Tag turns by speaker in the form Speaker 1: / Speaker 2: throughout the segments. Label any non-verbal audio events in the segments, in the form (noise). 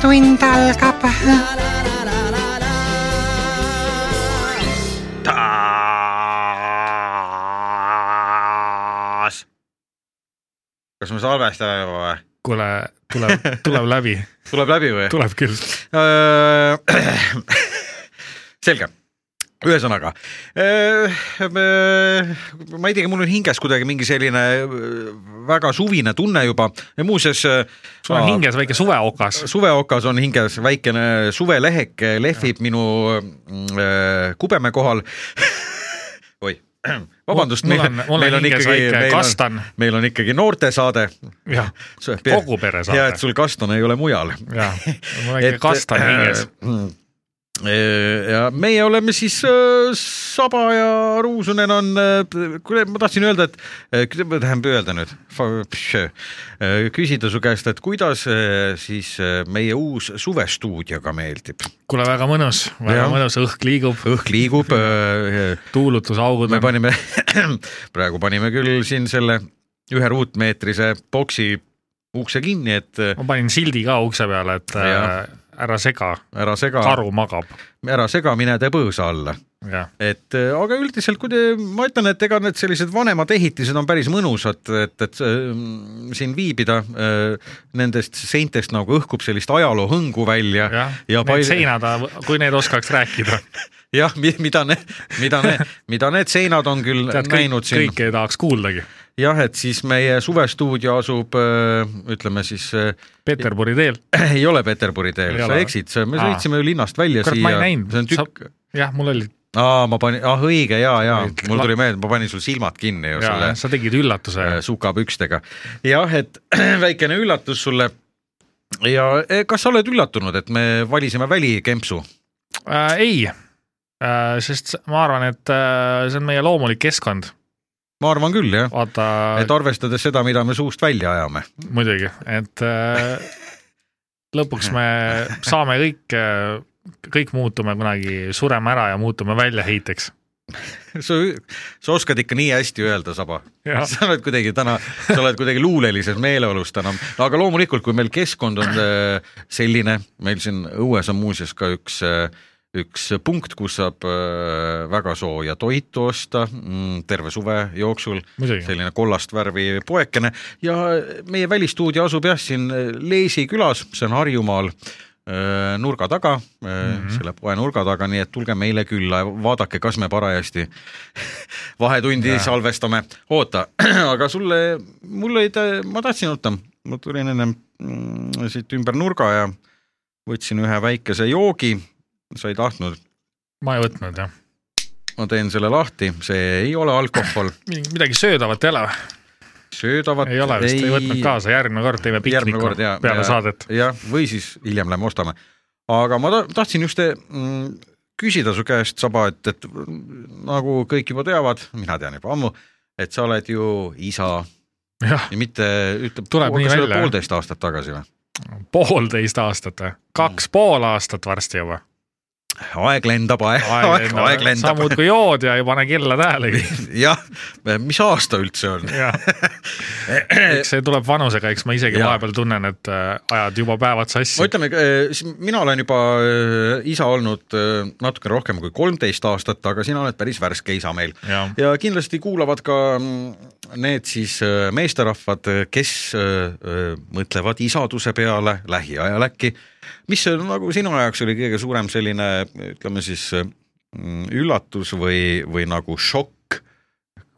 Speaker 1: tund algab .
Speaker 2: taas . kas me salvestame juba või ?
Speaker 3: kuule , tuleb , tuleb läbi ,
Speaker 2: tuleb läbi või ?
Speaker 3: tuleb küll .
Speaker 2: (clears throat) selge , ühesõnaga , ma ei teagi , mul on hinges kuidagi mingi selline öö, väga suvine tunne juba ja muuseas . äh,
Speaker 3: sul on hinges väike suveokas .
Speaker 2: suveokas on hinges väikene suveleheke lehvib minu öö, kubeme kohal . (laughs) oi , (clears throat) vabandust ,
Speaker 3: mul
Speaker 2: meil
Speaker 3: on , mul
Speaker 2: meil
Speaker 3: on
Speaker 2: on
Speaker 3: hinges
Speaker 2: ikkagi ,
Speaker 3: väike
Speaker 2: meil on ,
Speaker 3: kastan ,
Speaker 2: meil on ikkagi noortesaade .
Speaker 3: jah , kogu pere
Speaker 2: ja et
Speaker 3: saab .
Speaker 2: sul kastan ei ole mujal (laughs)
Speaker 3: jah , mul on väike kastan hinges .
Speaker 2: äh, mm, ja meie oleme siis äh, Saba ja Ruusunen on , kuule , ma tahtsin öelda , et äh, ma tahan öelda nüüd , küsida su käest , et kuidas äh, siis äh, meie uus suvestuudio ka meeldib ,
Speaker 3: kuule , väga mõnus , väga
Speaker 2: Jah.
Speaker 3: mõnus , õhk liigub ,
Speaker 2: õhk liigub ,
Speaker 3: tuulutusaugud
Speaker 2: me
Speaker 3: on ,
Speaker 2: panime , (clears throat) praegu panime küll siin selle ühe ruutmeetrise boksi ukse kinni , et äh,
Speaker 3: ma panin sildi ka ukse peale , et äh,
Speaker 2: Jah.
Speaker 3: ära sega ,
Speaker 2: ära sega ,
Speaker 3: karu magab ,
Speaker 2: ära sega , mine tee põõsa alla
Speaker 3: jah .
Speaker 2: et äh, aga üldiselt , kui te , ma ütlen , et ega need sellised vanemad ehitised on päris mõnusad , et , et äh, siin viibida äh, nendest seintest nagu õhkub sellist ajaloo hõngu välja
Speaker 3: jah ,
Speaker 2: ja
Speaker 3: need seinad , kui need oskaks
Speaker 2: (laughs)
Speaker 3: rääkida ,
Speaker 2: jah , mida need , mida
Speaker 3: (laughs)
Speaker 2: need , mida need seinad on küll
Speaker 3: tead kõik
Speaker 2: näinud , siin .
Speaker 3: kõike ei tahaks kuuldagi .
Speaker 2: jah , et siis meie suvestuudio asub äh, ütleme siis äh,
Speaker 3: Peterburi teel ,
Speaker 2: ei ole Peterburi teel
Speaker 3: Ei ,
Speaker 2: sa
Speaker 3: ole.
Speaker 2: eksid , me
Speaker 3: Aa.
Speaker 2: sõitsime ju linnast välja
Speaker 3: Kurat, ma
Speaker 2: siia
Speaker 3: ei , näinud.
Speaker 2: see on tükk ,
Speaker 3: jah , mul oli ,
Speaker 2: aa , ma panin , ah õige ja , ja
Speaker 3: Olid
Speaker 2: mul
Speaker 3: la-
Speaker 2: tuli meelde , ma panin sul silmad kinni ju selle
Speaker 3: sa tegid üllatuse ,
Speaker 2: sukapükstega . Äh, jah , et (clears throat) väikene üllatus sulle . ja eh, kas sa oled üllatunud , et me valisime välikempsu ?
Speaker 3: äh, ? ei äh, , sest ma arvan , et äh, see on meie loomulik keskkond ,
Speaker 2: ma arvan küll jah ,
Speaker 3: vaata
Speaker 2: et arvestades seda , mida me suust välja ajame . (laughs)
Speaker 3: muidugi , et äh, lõpuks me saame kõik äh, kõik muutume kunagi , sureme ära ja muutume väljaheiteks .
Speaker 2: sa , sa oskad ikka nii hästi öelda , Saba . (laughs) sa oled kuidagi täna , sa oled kuidagi luulelises meeleolus täna , aga loomulikult , kui meil keskkond on eh, selline , meil siin õues on muuseas ka üks eh, üks punkt , kus saab eh, väga sooja toitu osta mm, terve suve jooksul ,
Speaker 3: muidugi ,
Speaker 2: selline kollast värvi poekene ja meie välistuudio asub jah , siin Leesi külas , see on Harjumaal öö, nurga taga mm , -hmm.
Speaker 3: Mhm.
Speaker 2: selle poe nurga taga , nii et tulge meile külla ja vaadake , kas me parajasti (laughs) vahetundi ja.
Speaker 3: Jaa.
Speaker 2: salvestame . oota , (clears throat) aga sulle , mul olid , ma tahtsin , oota , ma tulin ennem mm, siit ümber nurga ja võtsin ühe väikese joogi , sa ei tahtnud ,
Speaker 3: ma ei võtnud jah .
Speaker 2: ma teen selle lahti , see ei ole alkohol ,
Speaker 3: midagi söödavat ei ole või ?
Speaker 2: söödavat
Speaker 3: ei ole vist , ei võtnud kaasa , järgmine kord teeme
Speaker 2: Järgmine
Speaker 3: pikniku
Speaker 2: kord, jaa,
Speaker 3: peale
Speaker 2: jaa.
Speaker 3: saadet .
Speaker 2: jah , või siis hiljem lähme ostame . aga ma ta- tahtsin just te- mm, küsida su käest , Saba , et , et mm, nagu kõik juba teavad , mina tean juba ammu , et sa oled ju isa
Speaker 3: jah ,
Speaker 2: ja mitte ütleb ,
Speaker 3: Tuleb nii välja,
Speaker 2: poolteist aastat tagasi või ?
Speaker 3: poolteist aastat või ? kaks pool aastat varsti juba .
Speaker 2: aeg lendab , aeg , aeg, aeg
Speaker 3: sa
Speaker 2: lendab ,
Speaker 3: muudkui jood ja ei pane kella tähelegi .
Speaker 2: jah , mis aasta üldse on ?
Speaker 3: jah , (laughs) eks see tuleb vanusega , eks ma isegi
Speaker 2: Jaa.
Speaker 3: vahepeal tunnen , et äh, ajad juba päevad
Speaker 2: ma
Speaker 3: sassi .
Speaker 2: ütleme , mina olen juba äh, isa olnud äh, natuke rohkem kui kolmteist aastat , aga sina oled päris värske isa meil .
Speaker 3: jah ,
Speaker 2: ja kindlasti kuulavad ka mm, need siis äh, meesterahvad , kes äh, äh, mõtlevad isaduse peale lähiajal äkki . mis see nagu sinu jaoks oli kõige suurem selline , ütleme siis äh, mm, üllatus või , või nagu šokk ,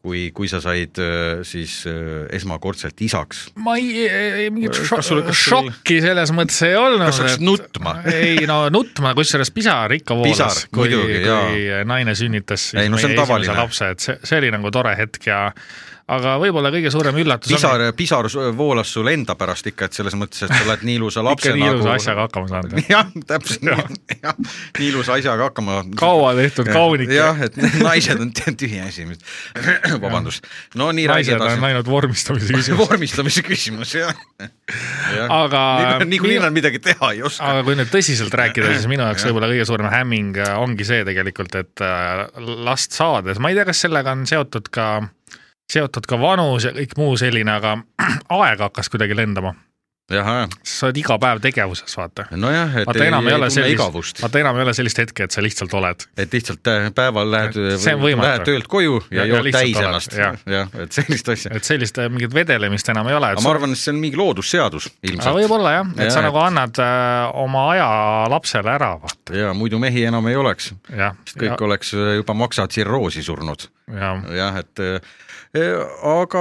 Speaker 2: kui , kui sa said äh, siis äh, esmakordselt isaks ?
Speaker 3: ma ei, ei , mingit
Speaker 2: Kas
Speaker 3: šo-
Speaker 2: sul- kas sul-
Speaker 3: šokki selles mõttes ei olnud .
Speaker 2: kas läks nutma ?
Speaker 3: ei no nutma , kusjuures pisar ikka
Speaker 2: Pisar,
Speaker 3: voolas , kui ,
Speaker 2: muidugi,
Speaker 3: kui naine sünnitas siis
Speaker 2: Ei, no see on
Speaker 3: meie esimese
Speaker 2: tavaline.
Speaker 3: lapse , et see , see oli nagu tore hetk ja aga võib-olla kõige suurem üllatus
Speaker 2: pisar , pisar su- voolas sul enda pärast ikka , et selles mõttes , et sa
Speaker 3: (laughs)
Speaker 2: oled nii ilusa
Speaker 3: on ikka
Speaker 2: lapse
Speaker 3: nii ilusa
Speaker 2: nagu
Speaker 3: nagu... asjaga hakkama saanud .
Speaker 2: (laughs) jah , täpselt nii , jah , nii ilusa asjaga hakkama .
Speaker 3: kaua tehtud kaunik ,
Speaker 2: jah , et naised on tü- tühi asi , mis , (clears throat) vabandust , no nii räägi
Speaker 3: naised on
Speaker 2: edasi .
Speaker 3: ainult vormistamise küsimus .
Speaker 2: (laughs) vormistamise küsimus jah , jah ,
Speaker 3: aga
Speaker 2: niikuinii nad midagi teha ei oska .
Speaker 3: aga kui nüüd tõsiselt rääkida , siis minu jaoks
Speaker 2: Jah.
Speaker 3: võib-olla kõige suurem hämming äh, ongi see tegelikult , et äh, last saades , ma ei tea , kas sellega on seotud ka , (clears throat) seotud ka vanus ja kõik muu selline , aga aeg hakkas kuidagi lendama .
Speaker 2: jah ,
Speaker 3: sa oled iga päev tegevuses , vaata .
Speaker 2: nojah , et
Speaker 3: vaata enam ei ole
Speaker 2: tunne
Speaker 3: sellist ,
Speaker 2: igavust ,
Speaker 3: vaata enam ei ole sellist hetke , et sa lihtsalt oled .
Speaker 2: et lihtsalt äh, päeval lähed ,
Speaker 3: See on võimatu.
Speaker 2: lähed töölt koju ja,
Speaker 3: Ja-
Speaker 2: ja
Speaker 3: ja
Speaker 2: jood
Speaker 3: lihtsalt
Speaker 2: täis
Speaker 3: oled,
Speaker 2: ennast ,
Speaker 3: jah.
Speaker 2: jah , et sellist asja .
Speaker 3: et sellist äh, mingit vedelemist enam ei ole .
Speaker 2: aga ma arvan , et see on mingi loodusseadus
Speaker 3: aga
Speaker 2: ilmselt
Speaker 3: võib-olla jah , et
Speaker 2: Jaa,
Speaker 3: sa
Speaker 2: et-
Speaker 3: nagu annad äh, oma aja lapsele ära , vaata ,
Speaker 2: ja muidu mehi enam ei oleks ,
Speaker 3: jah .
Speaker 2: sest kõik ja. oleks äh, juba maksatsirroosi surnud
Speaker 3: ja,
Speaker 2: jah , et eh, aga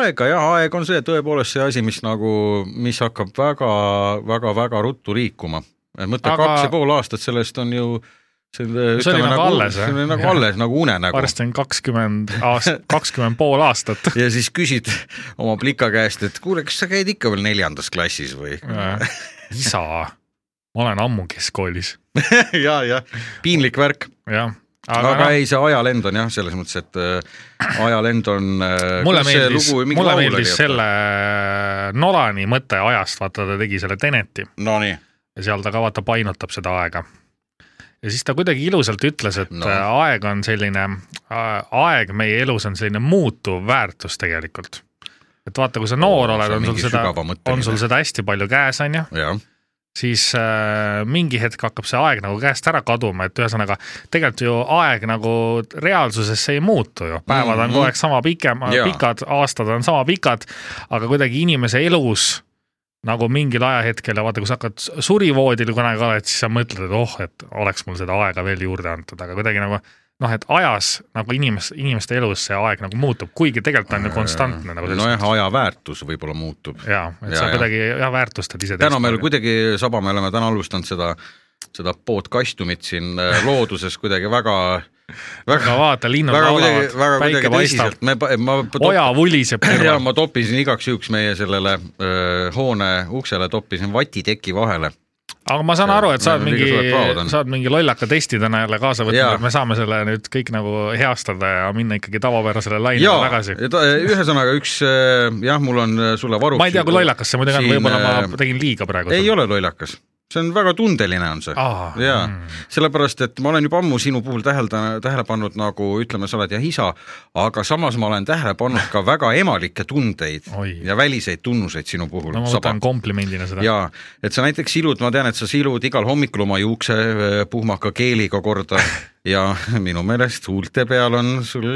Speaker 2: aega jah , aeg on see tõepoolest see asi , mis nagu , mis hakkab väga-väga-väga ruttu liikuma . mõtle
Speaker 3: Aga-
Speaker 2: aga... kaks ja pool aastat sellest on ju selle
Speaker 3: See oli nagu alles, jah?
Speaker 2: see oli nagu
Speaker 3: Jah.
Speaker 2: alles , nagu
Speaker 3: ja
Speaker 2: unenägu .
Speaker 3: varsti on kakskümmend aastat , kakskümmend pool aastat .
Speaker 2: ja siis küsid oma plika käest , et kuule , kas sa käid ikka veel neljandas klassis või ?
Speaker 3: Äh, isa , ma olen ammu keskkoolis ,
Speaker 2: (laughs) ja , jah , piinlik värk ,
Speaker 3: jah .
Speaker 2: aga,
Speaker 3: aga
Speaker 2: aga
Speaker 3: noh ,
Speaker 2: ei , see ajalend on jah , selles mõttes , et eh, ajalend on . äh,
Speaker 3: mulle meeldis , mulle meeldis selle äh, Nolani mõte ajast , vaata ta tegi selle Teneti
Speaker 2: Nonii ,
Speaker 3: ja seal ta ka vaata painutab seda aega . ja siis ta kuidagi ilusalt ütles , et
Speaker 2: No.
Speaker 3: no. aeg on selline , aeg meie elus on selline muutuv väärtus tegelikult . et vaata , kui sa
Speaker 2: Oo,
Speaker 3: noor oled ,
Speaker 2: see on
Speaker 3: on sul
Speaker 2: mingi
Speaker 3: seda ,
Speaker 2: sügavamõtteline.
Speaker 3: on sul seda hästi palju käes , on ju ,
Speaker 2: jah
Speaker 3: siis äh, mingi hetk hakkab see aeg nagu käest ära kaduma , et ühesõnaga tegelikult ju aeg nagu reaalsuses see ei muutu ju , päevad on
Speaker 2: Mhm.
Speaker 3: kogu aeg sama pikem
Speaker 2: Jaa. ,
Speaker 3: pikad , aastad on sama pikad , aga kuidagi inimese elus nagu mingil ajahetkel ja vaata , kui sa hakkad surivoodil kunagi oled , siis sa mõtled , et oh , et oleks mul seda aega veel juurde antud , aga kuidagi nagu noh , et ajas nagu inimes- , inimeste elus see aeg nagu muutub , kuigi tegelikult ta on ju konstantne nagu selles
Speaker 2: nojah , aja väärtus võib-olla muutub .
Speaker 3: jaa , et
Speaker 2: Jaa,
Speaker 3: sa
Speaker 2: jaa.
Speaker 3: kuidagi jah , väärtustad ise .
Speaker 2: täna meil kuidagi saba , me oleme täna alustanud seda , seda podcastumit siin
Speaker 3: (laughs)
Speaker 2: äh, looduses kuidagi väga ,
Speaker 3: aga
Speaker 2: väga ,
Speaker 3: vaata , linnud
Speaker 2: väga kuidagi , väga
Speaker 3: laulavad , päike
Speaker 2: kuidagi
Speaker 3: paistab ,
Speaker 2: tõsiselt , me , ma ,
Speaker 3: oja
Speaker 2: (laughs)
Speaker 3: vuliseb
Speaker 2: ja
Speaker 3: kõrval .
Speaker 2: ma toppisin igaks juhuks meie sellele öö, hoone uksele toppisin vatiteki vahele
Speaker 3: aga ma saan aru , et sa oled
Speaker 2: Meil on liiga
Speaker 3: mingi
Speaker 2: suured praod on. ,
Speaker 3: sa oled mingi lollaka testi täna jälle kaasa
Speaker 2: Jaa.
Speaker 3: võtnud , et me saame selle nüüd kõik nagu heastada ja minna ikkagi tavapärasele lainele
Speaker 2: Jaa,
Speaker 3: tagasi .
Speaker 2: ja ta- ühesõnaga üks äh, jah , mul on äh, sulle varuks
Speaker 3: ma ei tea , kui lollakas see muidugi on ,
Speaker 2: siin,
Speaker 3: võib-olla
Speaker 2: äh,
Speaker 3: ma tegin liiga praegu .
Speaker 2: ei ole lollakas , see on väga tundeline on see .
Speaker 3: ole
Speaker 2: jaa , sellepärast et ma olen juba ammu sinu puhul tähelda , tähele pannud nagu ütleme , sa oled jah isa , aga samas ma olen tähele pannud ka väga emalikke tundeid
Speaker 3: Oi.
Speaker 2: ja väliseid tunnuseid sinu puhul
Speaker 3: no ma
Speaker 2: Saba.
Speaker 3: võtan komplimendina seda .
Speaker 2: jaa , et sa näiteks silud , ma tean , et sa silud igal hommikul oma juukse öö, puhmaka keeliga
Speaker 3: (laughs)
Speaker 2: korda ja minu meelest huulte peal on sul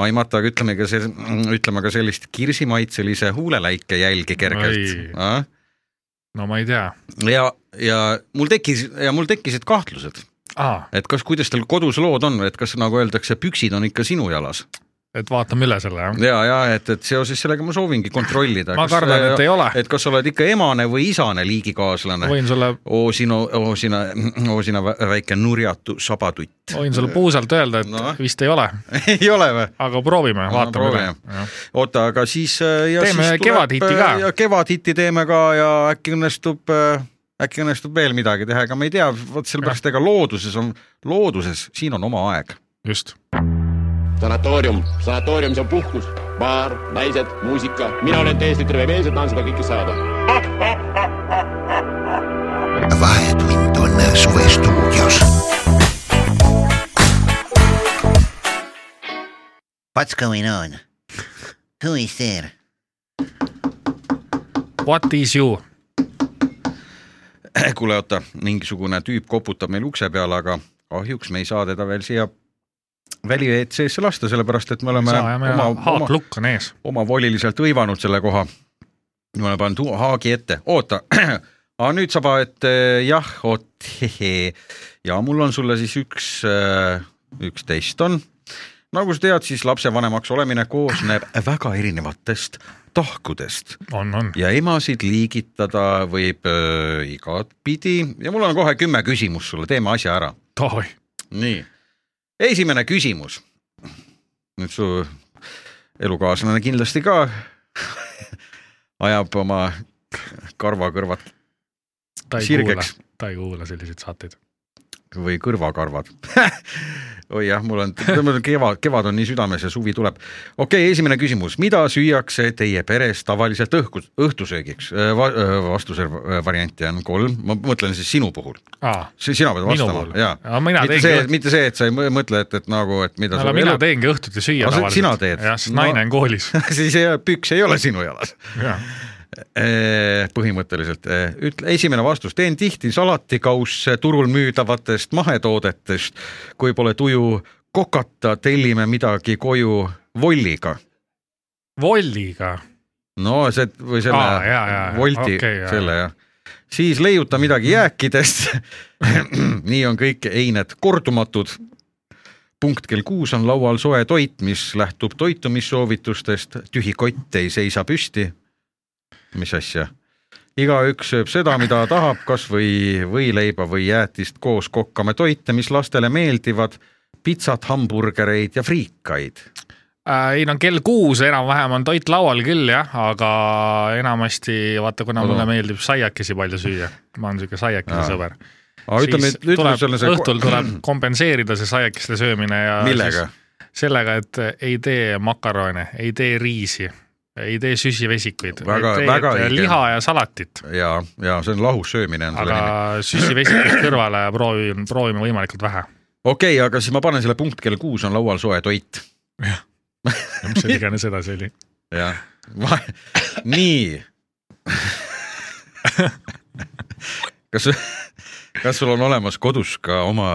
Speaker 2: aimata , aga ütleme ka see , ütleme ka sellist kirsimaitselise huuleläike jälgi kergelt
Speaker 3: Oi.
Speaker 2: ah?
Speaker 3: no ma ei tea .
Speaker 2: ja , ja mul tekkis ja mul tekkisid kahtlused ,
Speaker 3: aa ,
Speaker 2: et kas , kuidas teil kodus lood on , et kas nagu öeldakse , püksid on ikka sinu jalas
Speaker 3: et vaatame üle selle , jah .
Speaker 2: ja , ja et , et seoses sellega ma soovingi kontrollida .
Speaker 3: ma kardan , et ei ole .
Speaker 2: et kas sa oled ikka emane või isane liigikaaslane ?
Speaker 3: võin sulle ,
Speaker 2: oo sina , oo sina , oo sina vä- väike nurjatu sabatutt .
Speaker 3: võin sulle puusalt öelda , et
Speaker 2: Noh.
Speaker 3: vist ei ole ,
Speaker 2: (laughs) ei ole või ?
Speaker 3: aga proovime , vaatame üle
Speaker 2: proovime. . oota , aga siis äh, ja
Speaker 3: Teeme
Speaker 2: siis äh,
Speaker 3: kevadhiti ka.
Speaker 2: ja kevadhiti teeme ka ja äkki õnnestub , äkki õnnestub veel midagi teha , ega me ei tea , vot sellepärast , ega looduses on , looduses , siin on oma aeg .
Speaker 3: just .
Speaker 1: sanatoorium , sanatoorium , see on puhkus , baar , naised , muusika , mina olen täiesti terve mees ja tahan seda kõike saada
Speaker 4: Vahetund on suvestuudios . What's going on ? Who is there ?
Speaker 3: What is you ?
Speaker 2: Eh, kuule , oota , mingisugune tüüp koputab meil ukse peale , aga kahjuks me ei saa teda veel siia väli-WC-sse lasta , sellepärast et me oleme
Speaker 3: saa , jah , meil
Speaker 2: oma,
Speaker 3: on
Speaker 2: oma
Speaker 3: haaklukk on ees .
Speaker 2: omavoliliselt hõivanud selle koha . me oleme pannud hu- haagi ette , oota . (clears throat) aga nüüd saba , et eh, jah , oot , ja mul on sulle siis üks , üksteist on . nagu sa tead , siis lapsevanemaks olemine koosneb väga erinevatest tahkudest
Speaker 3: on , on .
Speaker 2: ja emasid liigitada võib öö, igatpidi ja mul on kohe kümme küsimust sulle , teeme asja ära .
Speaker 3: tohoi .
Speaker 2: nii , esimene küsimus . nüüd su elukaaslane kindlasti ka (laughs) ajab oma karvakõrvad
Speaker 3: ta ei
Speaker 2: sirgeks.
Speaker 3: kuula , ta ei kuula selliseid saateid .
Speaker 2: või kõrvakarvad . (laughs) oi jah , mul on , kevad , kevad on nii südames ja suvi tuleb . okei okay, , esimene küsimus , mida süüakse teie peres tavaliselt õhku , õhtusöögiks Va ? vastuse variante on kolm , ma mõtlen siis sinu puhul ,
Speaker 3: aa ,
Speaker 2: sina pead
Speaker 3: minu
Speaker 2: vastama
Speaker 3: pool ,
Speaker 2: jaa .
Speaker 3: aga mina
Speaker 2: mitte see ,
Speaker 3: teengi ,
Speaker 2: mitte see , et sa ei mõ- mõtle , et , et nagu , et mida
Speaker 3: aga mina teengi õhtuti süüa
Speaker 2: Aga sa-
Speaker 3: tavaliselt .
Speaker 2: sina teed? (laughs)
Speaker 3: jah , sest
Speaker 2: No-
Speaker 3: naine on koolis .
Speaker 2: siis ei, püks ei ole sinu jalas . põhimõtteliselt eh, ütle , esimene vastus , teen tihti salatikausse turul müüdavatest mahetoodetest . kui pole tuju kokata , tellime midagi koju volliga .
Speaker 3: volliga ,
Speaker 2: no see või selle
Speaker 3: Aa, jaa, jaa,
Speaker 2: volti
Speaker 3: okei,
Speaker 2: okay,
Speaker 3: jaa.
Speaker 2: selle jah , siis leiuta midagi jääkidest . (clears throat) nii on kõik eined kordumatud . punkt kell kuus on laual soe toit , mis lähtub toitumissoovitustest , tühi kott ei seisa püsti . mis asja ? igaüks sööb seda , mida tahab , kas või võileiba või jäätist koos kokkame toite , mis lastele meeldivad , pitsat , hamburgereid ja friikaid .
Speaker 3: äh, . ei no kell kuus enam-vähem on toit laual küll jah , aga enamasti vaata , kuna
Speaker 2: Oda.
Speaker 3: mulle meeldib saiakesi palju süüa , ma olen siuke saiakese
Speaker 2: Aa.
Speaker 3: sõber .
Speaker 2: aga ütleme ,
Speaker 3: siis
Speaker 2: ütleme selle-
Speaker 3: tuleb
Speaker 2: selle
Speaker 3: õhtul tuleb kompenseerida see saiakeste söömine ja .
Speaker 2: millega ??
Speaker 3: sellega , et ei tee makarone , ei tee riisi , ei tee süsivesikuid ,
Speaker 2: Väga-
Speaker 3: teed
Speaker 2: väga õige.
Speaker 3: liha ja salatit .
Speaker 2: ja , ja see on lahus söömine on selle
Speaker 3: aga
Speaker 2: nimi .
Speaker 3: süsivesikuid kõrvale proovin , proovime võimalikult vähe .
Speaker 2: okei okay, , aga siis ma panen selle punkt kell kuus on laual soe toit .
Speaker 3: mis seal iganes edasi oli .
Speaker 2: jah , (laughs) nii . (laughs) kas , kas sul on olemas kodus ka oma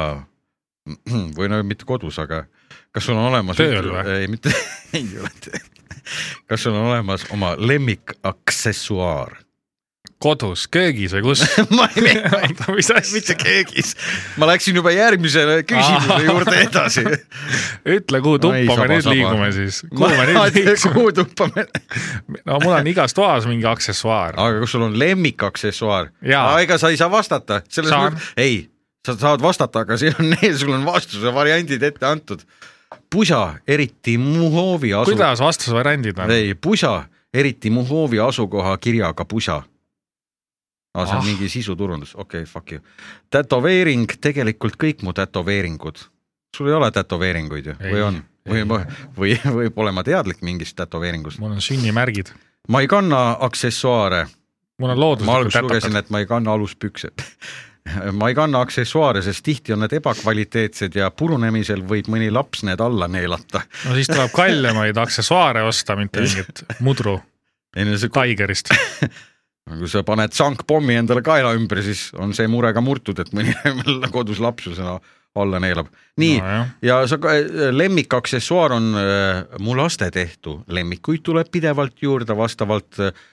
Speaker 2: või no mitte kodus , aga kas sul on olemas
Speaker 3: Tööl või?
Speaker 2: ei mitte , (laughs) ei ole tööl . kas sul on olemas oma lemmikaksessuaar ? (laughs)
Speaker 3: kodus , köögis või kus ?
Speaker 2: ma (laughs) ei (laughs)
Speaker 3: mis asja ?
Speaker 2: keegis . ma läksin juba järgmise küsimuse juurde edasi
Speaker 3: (laughs) ütle , kuhu
Speaker 2: Ai,
Speaker 3: tuppa
Speaker 2: saba,
Speaker 3: me nüüd
Speaker 2: saba.
Speaker 3: liigume siis . kuhu me nüüd liigume ?
Speaker 2: kuutuppame .
Speaker 3: no mul on igas toas mingi aksessuaar .
Speaker 2: aga kas sul on lemmikaksessuaar ?
Speaker 3: Jaa.
Speaker 2: ega sa ei saa vastata , selles
Speaker 3: Saan.
Speaker 2: mõttes , ei , sa saad vastata , aga siin on , (laughs) sul on vastuse variandid ette antud . pusa , eriti Muhovi asu- ,
Speaker 3: kuidas vastusvariandid on ?
Speaker 2: ei pusa , eriti Muhovi asukoha kirjaga pusa . aa , see on
Speaker 3: Ah.
Speaker 2: ah. mingi sisuturundus , okei okay, , fuck you . tätoveering , tegelikult kõik mu tätoveeringud . sul ei ole tätoveeringuid ju ,
Speaker 3: Ei,
Speaker 2: või on ? või , või , või pole ma teadlik mingist tätoveeringust ?
Speaker 3: mul on sünnimärgid ,
Speaker 2: ma ei kanna aksessuaare
Speaker 3: mul on
Speaker 2: ma alguses
Speaker 3: looduslikud
Speaker 2: lugesin ,
Speaker 3: tätakad .
Speaker 2: et ma ei kanna aluspükse . (laughs) ma ei kanna aksessuaare , sest tihti on need ebakvaliteetsed ja purunemisel võib mõni laps need alla neelata .
Speaker 3: no siis tuleb kallimaid aksessuaare osta , mitte mingit
Speaker 2: (laughs)
Speaker 3: mudru
Speaker 2: ei no see ,
Speaker 3: Tigerist .
Speaker 2: kui sa paned sankpommi endale kaela ümber , siis on see mure ka murtud , et mõni (laughs) nagu kodus laps ju seda alla neelab . nii no, ,
Speaker 3: nojah ,
Speaker 2: ja sa , lemmikaksessuaar on äh, mu laste tehtu , lemmikuid tuleb pidevalt juurde vastavalt äh,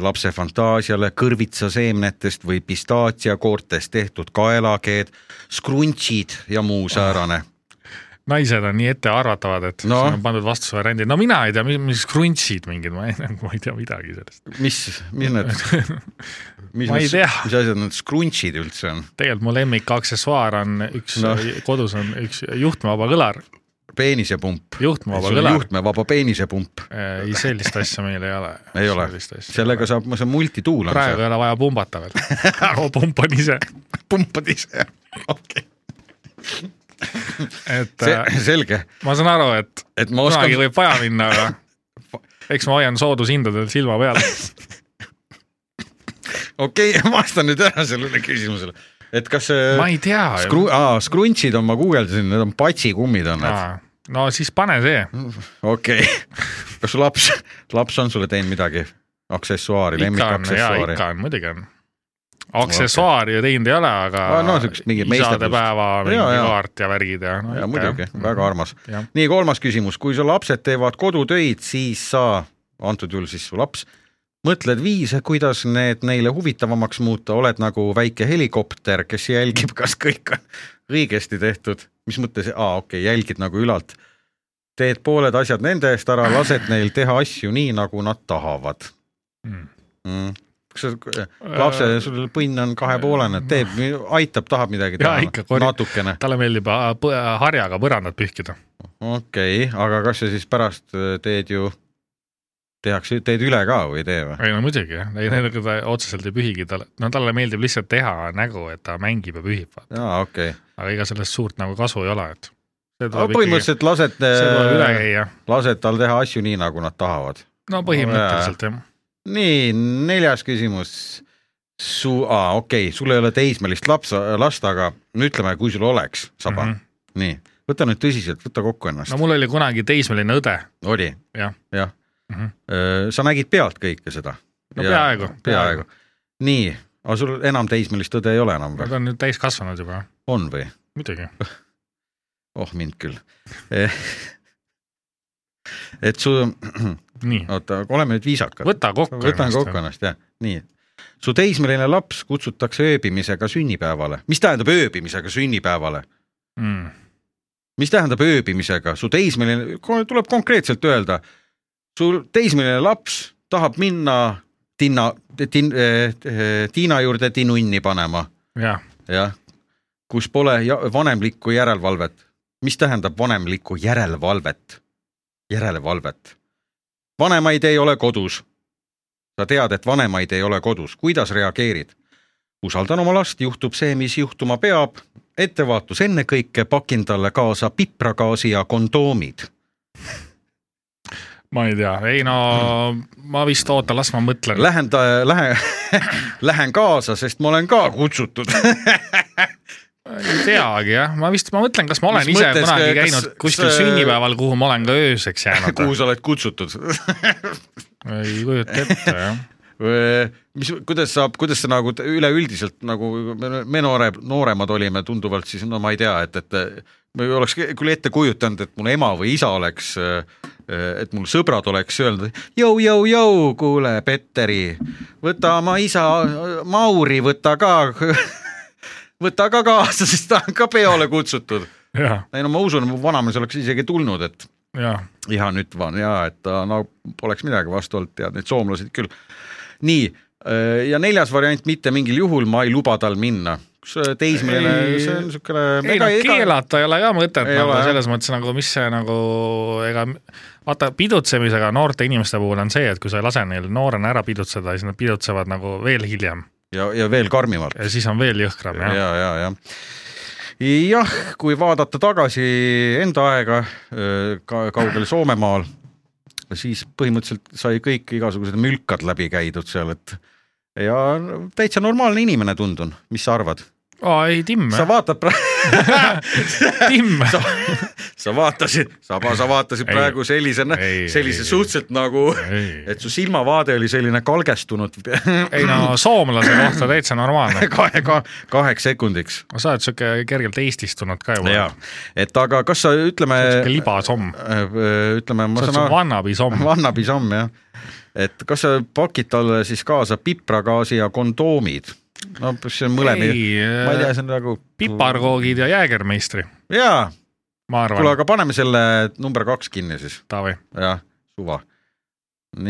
Speaker 2: lapse fantaasiale kõrvitsaseemnetest või pistaatsiakoortest tehtud kaelakeed , skruntšid ja muu säärane .
Speaker 3: naised on nii ettearvatavad , et no.
Speaker 2: No.
Speaker 3: siin on pandud vastusevariandid , no mina ei tea , mis , mis kruntsid mingid , ma ei , ma ei tea midagi sellest . (laughs)
Speaker 2: mis , mis need , mis
Speaker 3: Ma ei
Speaker 2: need ,
Speaker 3: tea.
Speaker 2: mis asjad need skruntšid üldse on ?
Speaker 3: tegelikult mu lemmik aksessuaar on üks no.
Speaker 2: No. ,
Speaker 3: kodus on üks juhtmevaba kõlar ,
Speaker 2: peenisepump ,
Speaker 3: juhtmevaba kõlar .
Speaker 2: juhtmevaba peenisepump ,
Speaker 3: ei , sellist asja meil ei ole .
Speaker 2: (laughs) Ei ole. sellega saab , see on multituul on
Speaker 3: praegu
Speaker 2: see ,
Speaker 3: ei ole vaja
Speaker 2: (laughs)
Speaker 3: pumbata veel . pumpan ise ,
Speaker 2: pumpad ise , (laughs) okei ,
Speaker 3: et see...
Speaker 2: see , selge ,
Speaker 3: ma saan aru , et
Speaker 2: et ma
Speaker 3: kunagi
Speaker 2: oskan ,
Speaker 3: võib vaja minna , aga
Speaker 2: (laughs)
Speaker 3: eks ma hoian soodushindadel silma peal .
Speaker 2: okei (laughs) okay, , vasta nüüd ära sellele küsimusele , et kas see
Speaker 3: ma ei tea .
Speaker 2: skru- , aa , skruntsid on , ma guugeldasin , need on patsikummid on need ,
Speaker 3: no siis pane see
Speaker 2: okei okay. . kas su laps , laps on sulle teinud midagi ? aksessuaari ,
Speaker 3: ikka on , jaa ,
Speaker 2: lemmikaksessuaari
Speaker 3: ikka ? on , muidugi on . aksessuaari ju teinud ei ole , aga
Speaker 2: Aa, no siukest mingit meisterlust.
Speaker 3: isadepäeva mingi
Speaker 2: Jaa, jaa.
Speaker 3: kaart ja värgid ja no,
Speaker 2: ja muidugi , väga armas
Speaker 3: Jah. .
Speaker 2: nii , kolmas küsimus , kui su lapsed teevad kodutöid , siis sa , antud juhul siis su laps , mõtled viise , kuidas need neile huvitavamaks muuta , oled nagu väike helikopter , kes jälgib , kas kõik on õigesti tehtud . mis mõttes , aa okei okay, , jälgid nagu ülalt . teed pooled asjad nende eest ära , lased neil teha asju nii , nagu nad tahavad
Speaker 3: Mm. Äh,
Speaker 2: mm. . kas sa , lapse , sul põnn on kahepoolene , teeb , aitab , tahab midagi
Speaker 3: Jaa,
Speaker 2: teha
Speaker 3: ikka korjab-
Speaker 2: natukene .
Speaker 3: talle meeldib äh, põ- harjaga põrandat pühkida .
Speaker 2: okei okay, , aga kas sa siis pärast äh, teed ju , tehakse , teed üle ka või ei tee või ?
Speaker 3: ei no muidugi jah , ei nendega ta otseselt ei pühigi , talle , no talle meeldib lihtsalt teha nägu , et ta mängib ja pühib ,
Speaker 2: aa , okei okay. .
Speaker 3: aga ega sellest suurt nagu kasu ei ole , et see
Speaker 2: aga
Speaker 3: tuleb ikkagi ,
Speaker 2: põhimõtteliselt lased
Speaker 3: see tuleb üle , käia .
Speaker 2: lased äh, tal teha asju nii , nagu nad tahavad .
Speaker 3: no põhimõtteliselt jah .
Speaker 2: nii , neljas küsimus . su , aa , okei okay. , sul ei ole teismelist laps , last , aga no ütleme , kui sul oleks saba mm ,
Speaker 3: Mhm.
Speaker 2: -hmm. nii , võta nüüd tõsiselt , võta kokku ennast
Speaker 3: no
Speaker 2: no, ,
Speaker 3: mul oli kunagi teismeline õde ,
Speaker 2: oli ,
Speaker 3: jah
Speaker 2: jah
Speaker 3: Mhm.
Speaker 2: sa nägid pealt kõike seda ,
Speaker 3: no peaaegu ,
Speaker 2: peaaegu .. nii , aga sul enam teismelist õde ei ole enam
Speaker 3: Nad
Speaker 2: või ?
Speaker 3: on nüüd täiskasvanud juba ,
Speaker 2: on või ?
Speaker 3: muidugi .
Speaker 2: oh mind küll . et su ,
Speaker 3: nii ,
Speaker 2: oota , oleme nüüd viisakad .
Speaker 3: võta kokku .
Speaker 2: võtan kokku . ennast jah , nii . su teismeline laps kutsutakse ööbimisega sünnipäevale , mis tähendab ööbimisega sünnipäevale ?
Speaker 3: Mm,
Speaker 2: mis tähendab ööbimisega , su teismeline , tuleb konkreetselt öelda , sul teismeline laps tahab minna Tiina , Tin- , Tiina juurde tinunni panema ,
Speaker 3: jah ,
Speaker 2: jah , kus pole ja- vanemlikku järelevalvet . mis tähendab vanemlikku järelevalvet ? järelevalvet . vanemaid ei ole kodus . sa tead , et vanemaid ei ole kodus , kuidas reageerid ? usaldan oma last , juhtub see , mis juhtuma peab . ettevaatus ennekõike , pakin talle kaasa pipragaasi ja kondoomid .
Speaker 3: ma ei tea , ei no
Speaker 2: Mm.
Speaker 3: ma vist ootan , las ma mõtlen .
Speaker 2: Lähen , lähen , (laughs) lähen kaasa , sest ma olen ka kutsutud . (laughs)
Speaker 3: ei teagi jah , ma vist , ma mõtlen , kas ma olen
Speaker 2: Mis
Speaker 3: ise
Speaker 2: mõttes,
Speaker 3: kunagi
Speaker 2: kas-
Speaker 3: käinud
Speaker 2: kas-
Speaker 3: kuskil sünnipäeval , kuhu ma olen ka ööseks jäänud .
Speaker 2: kuhu sa oled kutsutud ?
Speaker 3: ei kujuta ette jah .
Speaker 2: mis , kuidas saab , kuidas see nagu t- üleüldiselt nagu me- me noore , nooremad olime tunduvalt siis no ma ei tea , et , et ma ei oleks küll ette kujutanud , et mul ema või isa oleks , et mul sõbrad oleks öelnud jõu , jõu , jõu , kuule , Petteri , võta oma isa Mauri , võta ka , (laughs) võta ka kaasa , sest ta on ka peole kutsutud .
Speaker 3: jah ,
Speaker 2: ei no ma usun , mu vanamees oleks isegi tulnud , et
Speaker 3: jah ,
Speaker 2: ja nüüd on ja et ta no poleks midagi vastu olnud , tead need soomlased küll . nii äh, ja neljas variant , mitte mingil juhul ma ei luba tal minna , kus äh, teismeline
Speaker 3: Ei- ,
Speaker 2: see on niisugune .
Speaker 3: ei no keelata ei ole ka mõtet
Speaker 2: Ei
Speaker 3: nagu
Speaker 2: ole, jah.
Speaker 3: selles mõttes nagu , mis see nagu , ega vaata pidutsemisega noorte inimeste puhul on see , et kui sa ei lase neil noorena ära pidutseda , siis nad pidutsevad nagu veel hiljem
Speaker 2: ja , ja veel karmimalt
Speaker 3: ja siis on veel jõhkram
Speaker 2: ja ,
Speaker 3: jah .
Speaker 2: ja , ja, ja. jah , kui vaadata tagasi enda aega öö, ka kaugel Soomemaal , siis põhimõtteliselt sai kõik igasugused mülkad läbi käidud seal , et ja täitsa normaalne inimene tundun , mis sa arvad ?
Speaker 3: aa ei , Timm ,
Speaker 2: sa vaatad (laughs) praegu
Speaker 3: (laughs) Timm ,
Speaker 2: sa , sa vaatasid , Saba , sa vaatasid
Speaker 3: Ei.
Speaker 2: praegu sellise
Speaker 3: Ei, ,
Speaker 2: sellise
Speaker 3: ei,
Speaker 2: suhteliselt nagu ,
Speaker 3: ei
Speaker 2: et su silmavaade oli selline kalgestunud
Speaker 3: ei no soomlase kohta täitsa normaalne ,
Speaker 2: (laughs) kahe , kaheks sekundiks .
Speaker 3: sa oled siuke kergelt eestistunud ka juba ,
Speaker 2: jaa , et aga kas sa ütleme ,
Speaker 3: siuke libasomm ,
Speaker 2: ütleme , ma
Speaker 3: sa
Speaker 2: saan
Speaker 3: oled siuke
Speaker 2: aru ,
Speaker 3: vannabisomm ,
Speaker 2: vannabisamm jah , et kas sa pakid talle siis kaasa pipragaasi ja kondoomid ? no see on mõlemi , ma ei tea ,
Speaker 3: ei , äh,
Speaker 2: see on nagu .
Speaker 3: piparkoogid ja jäägermeistri ,
Speaker 2: jaa ,
Speaker 3: ma
Speaker 2: kuule ,
Speaker 3: arvan ,
Speaker 2: aga paneme selle number kaks kinni siis ,
Speaker 3: Taavi
Speaker 2: jah , suva .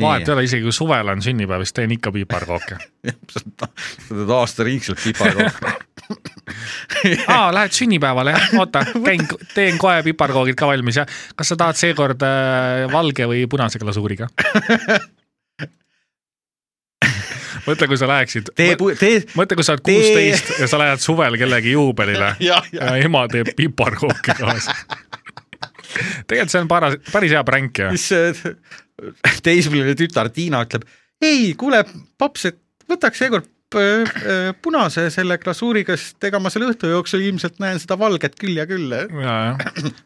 Speaker 3: vahet ei ole , isegi kui suvel on sünnipäev , siis teen ikka
Speaker 2: (laughs)
Speaker 3: piparkooke .
Speaker 2: sa sa teed aastaringselt piparkooke .
Speaker 3: aa , lähed sünnipäevale , jah ? oota , käin , teen kohe piparkoogid ka valmis ja kas sa tahad seekord äh, valge või
Speaker 2: (laughs)
Speaker 3: punase glasuuriga ? mõtle , kui sa läheksid ,
Speaker 2: tee , tee .
Speaker 3: mõtle , kui sa oled
Speaker 2: tee-
Speaker 3: kuusteist ja sa lähed suvel kellegi
Speaker 2: (laughs)
Speaker 3: juubelile
Speaker 2: jah ,
Speaker 3: ja ema teeb piparkooke kaasa . tegelikult see on paras , päris hea pränk ju .
Speaker 2: siis see teismeline tütar Tiina ütleb ei , kuule paps , et võtaks seekord p- p- punase selle glasuuriga , sest ega ma selle õhtu jooksul ilmselt näen seda valget küll ja küll .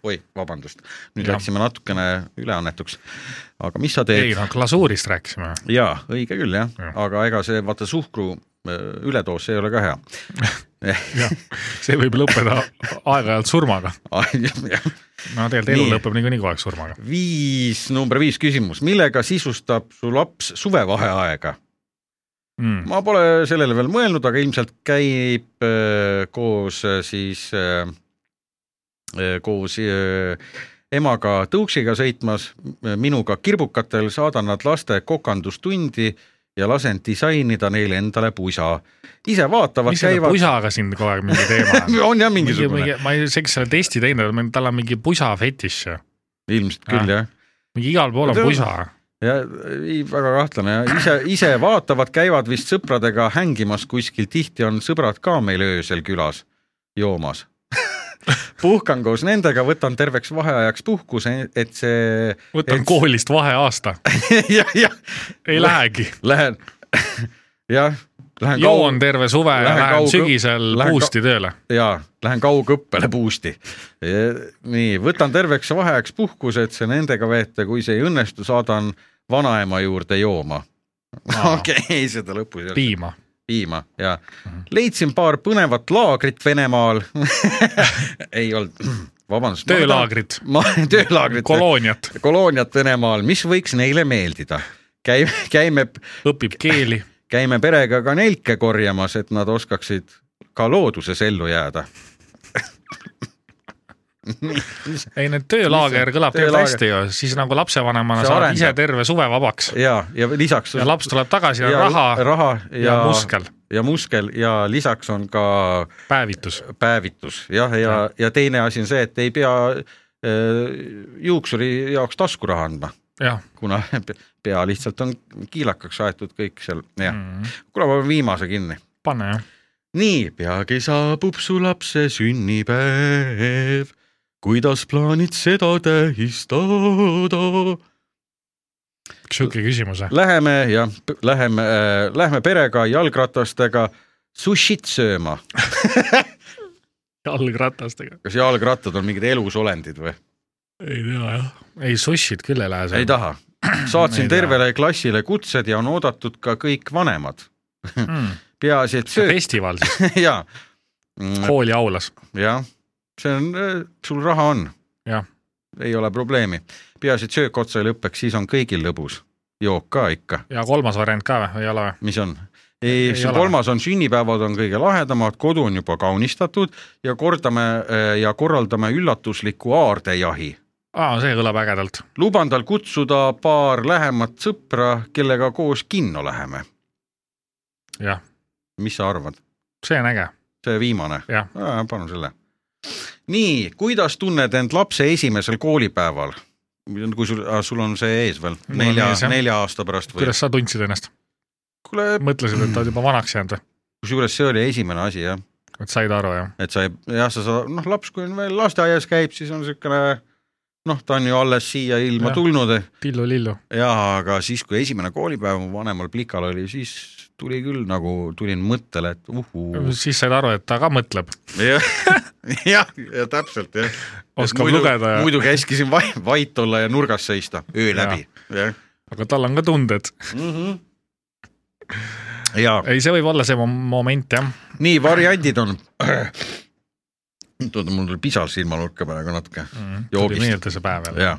Speaker 2: oi , vabandust , nüüd
Speaker 3: Jah.
Speaker 2: ja. läksime natukene üleannetuks . aga mis sa
Speaker 3: ei
Speaker 2: teed ?
Speaker 3: noh , glasuurist rääkisime .
Speaker 2: jaa , õige küll jah ja.
Speaker 3: Jah. ,
Speaker 2: aga ega see vaata suhkru öö, üledoos , see ei ole ka hea (laughs)
Speaker 3: jah , see võib lõppeda aeg-ajalt surmaga .
Speaker 2: Jah.
Speaker 3: no tegelikult elu
Speaker 2: Nii.
Speaker 3: lõpeb niikuinii kogu aeg surmaga .
Speaker 2: viis , number viis küsimus , millega sisustab su laps suvevaheaega ?
Speaker 3: mm. .
Speaker 2: ma pole sellele veel mõelnud , aga ilmselt käib äh, koos äh, siis äh, äh, koos äh, emaga tõuksiga sõitmas , minuga kirbukatel , saadan nad laste kokandustundi ja lasen disainida neile endale pusa . ise vaatavad ,
Speaker 3: mis selle
Speaker 2: käivad ,
Speaker 3: pusaga siin kogu aeg mingi
Speaker 2: (laughs)
Speaker 3: teema on ?
Speaker 2: on jah mingisugune ,.
Speaker 3: ma ei isegi selle testi teinud , tal on mingi pusa fetiš ju .
Speaker 2: ilmselt küll jah .
Speaker 3: mingi igal pool on
Speaker 2: Tõ-
Speaker 3: pusa .
Speaker 2: ja ei , väga kahtlane ja ise , ise vaatavad , käivad vist sõpradega hängimas kuskil , tihti on sõbrad ka meil öösel külas joomas . (laughs) puhkan koos nendega , võtan terveks vaheajaks puhkuse , et see
Speaker 3: võtan
Speaker 2: Et- (laughs)
Speaker 3: et... koolist vaheaasta ,
Speaker 2: jah , jah ,
Speaker 3: ei lähegi .
Speaker 2: lähen (laughs) jah , lähen
Speaker 3: joon terve suve ja
Speaker 2: Lähen
Speaker 3: lähen
Speaker 2: kaug-
Speaker 3: sügisel
Speaker 2: lähen
Speaker 3: boost'i tööle .
Speaker 2: jaa , lähen kaugõppele boost'i . nii , võtan terveks vaheajaks puhkuse , et see nendega veeta , kui see ei õnnestu , saadan vanaema juurde jooma . (laughs) okei , seda lõpus ei olnud .
Speaker 3: piima .
Speaker 2: piima ja
Speaker 3: Mhm.
Speaker 2: leidsin paar põnevat laagrit
Speaker 3: (laughs)
Speaker 2: Venemaal . ei olnud , vabandust .
Speaker 3: töölaagrid ,
Speaker 2: ma töölaagrit ,
Speaker 3: kolooniat ,
Speaker 2: kolooniat Venemaal , mis võiks neile meeldida ? käime , käime ,
Speaker 3: õpib keeli .
Speaker 2: käime perega ka nelke korjamas , et nad oskaksid ka looduses ellu jääda .
Speaker 3: ei , need töölaager kõlab tegelikult
Speaker 2: Töölaager.
Speaker 3: hästi ju , siis nagu lapsevanemana
Speaker 2: See
Speaker 3: saad
Speaker 2: arendab.
Speaker 3: ise terve suve vabaks
Speaker 2: ja , ja lisaks .
Speaker 3: ja laps tuleb tagasi ja on raha
Speaker 2: raha
Speaker 3: ja muskel ,
Speaker 2: ja muskel ja lisaks on ka
Speaker 3: päevitus .
Speaker 2: päevitus jah , ja, ja , ja teine asi on see , et ei pea äh, juuksuri jaoks taskuraha andma ,
Speaker 3: jah ,
Speaker 2: kuna (laughs) pe- pea lihtsalt on kiilakaks aetud kõik seal , jah .
Speaker 3: Mhm.
Speaker 2: kuule , ma panen viimase kinni .
Speaker 3: pane jah ,
Speaker 2: nii , peagi saabub su lapse sünnipäev . kuidas plaanid seda tähistada ?
Speaker 3: sihuke küsimuse .
Speaker 2: Läheme jah , läheme äh, , lähme perega jalgratastega sushit sööma .
Speaker 3: jalgratastega .
Speaker 2: kas jalgrattad on mingid elusolendid või ?
Speaker 3: ei tea jah . ei , sussid küll ei lähe
Speaker 2: ei
Speaker 3: seal .
Speaker 2: taha . saatsin
Speaker 3: Ei taha.
Speaker 2: tervele klassile kutsed ja on oodatud ka kõik vanemad . peaasi , et Mm, sööd
Speaker 3: Mm. festival siis ,
Speaker 2: (laughs) ja ,
Speaker 3: kooli aulas .
Speaker 2: jah , see on , sul raha on .
Speaker 3: Jah.
Speaker 2: ei ole probleemi , peaasi , et söök otsa ei lõpeks , siis on kõigil lõbus . jook ka ikka ,
Speaker 3: ja kolmas variant ka või , ei ole või ?
Speaker 2: mis on ? ei,
Speaker 3: Ei
Speaker 2: ei ,
Speaker 3: ole.
Speaker 2: kolmas on sünnipäevad on kõige lahedamad , kodu on juba kaunistatud ja kordame äh, ja korraldame üllatusliku aardejahi
Speaker 3: aa , see kõlab ägedalt .
Speaker 2: luban tal kutsuda paar lähemat sõpra , kellega koos kinno läheme .
Speaker 3: Jah. .
Speaker 2: mis sa arvad ,
Speaker 3: see on äge .
Speaker 2: see viimane
Speaker 3: Jah. ?
Speaker 2: palun selle . nii , kuidas tunned end lapse esimesel koolipäeval ? kui sul , sul on see ees veel ,
Speaker 3: on
Speaker 2: nelja
Speaker 3: ees, jah. ,
Speaker 2: nelja aasta pärast või ?
Speaker 3: kuidas sa tundsid ennast ?
Speaker 2: kuule ,
Speaker 3: mõtlesid , et oled juba vanaks jäänud või ?
Speaker 2: kusjuures see oli esimene asi jah ,
Speaker 3: et said aru jah ?
Speaker 2: et sa ei , jah , sa saad , noh , laps , kui on veel lasteaias käib , siis on niisugune noh , ta on ju alles siia ilma
Speaker 3: Jah.
Speaker 2: tulnud
Speaker 3: tillu-lillu .
Speaker 2: jaa , aga siis , kui esimene koolipäev mu vanemal plikal oli , siis tuli küll nagu , tulin mõttele , et uhuu .
Speaker 3: siis said aru , et ta ka mõtleb ,
Speaker 2: jah , (laughs) ja, ja täpselt jah .
Speaker 3: oskab lugeda ja ,
Speaker 2: muidu käskisin vai, vait olla ja nurgas seista öö läbi .
Speaker 3: aga tal on ka tunded .
Speaker 2: jaa ,
Speaker 3: ei , see võib olla see mo- moment jah .
Speaker 2: nii variandid on . oota , mul tuli pisar silmanurka praegu natuke .
Speaker 3: Mm, tuli
Speaker 2: Joogist.
Speaker 3: meelde see päev jälle .
Speaker 2: jaa .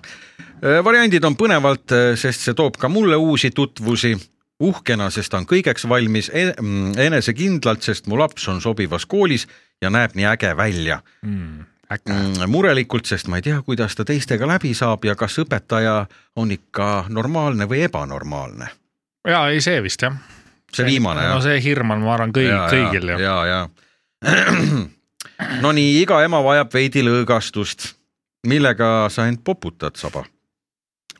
Speaker 2: variandid on põnevalt , sest see toob ka mulle uusi tutvusi , uhkena , sest ta on kõigeks valmis , enesekindlalt , sest mu laps on sobivas koolis ja näeb nii äge välja .
Speaker 3: Mm, äkki .
Speaker 2: Mm. murelikult , sest ma ei tea , kuidas ta teistega läbi saab ja kas õpetaja on ikka normaalne või ebanormaalne .
Speaker 3: jaa , ei see vist jah .
Speaker 2: see viimane
Speaker 3: no see hirm on , ma arvan , kõigil , kõigil ju .
Speaker 2: ja , ja . (clears throat) no nii , iga ema vajab veidi lõõgastust . millega sa end poputad , saba ?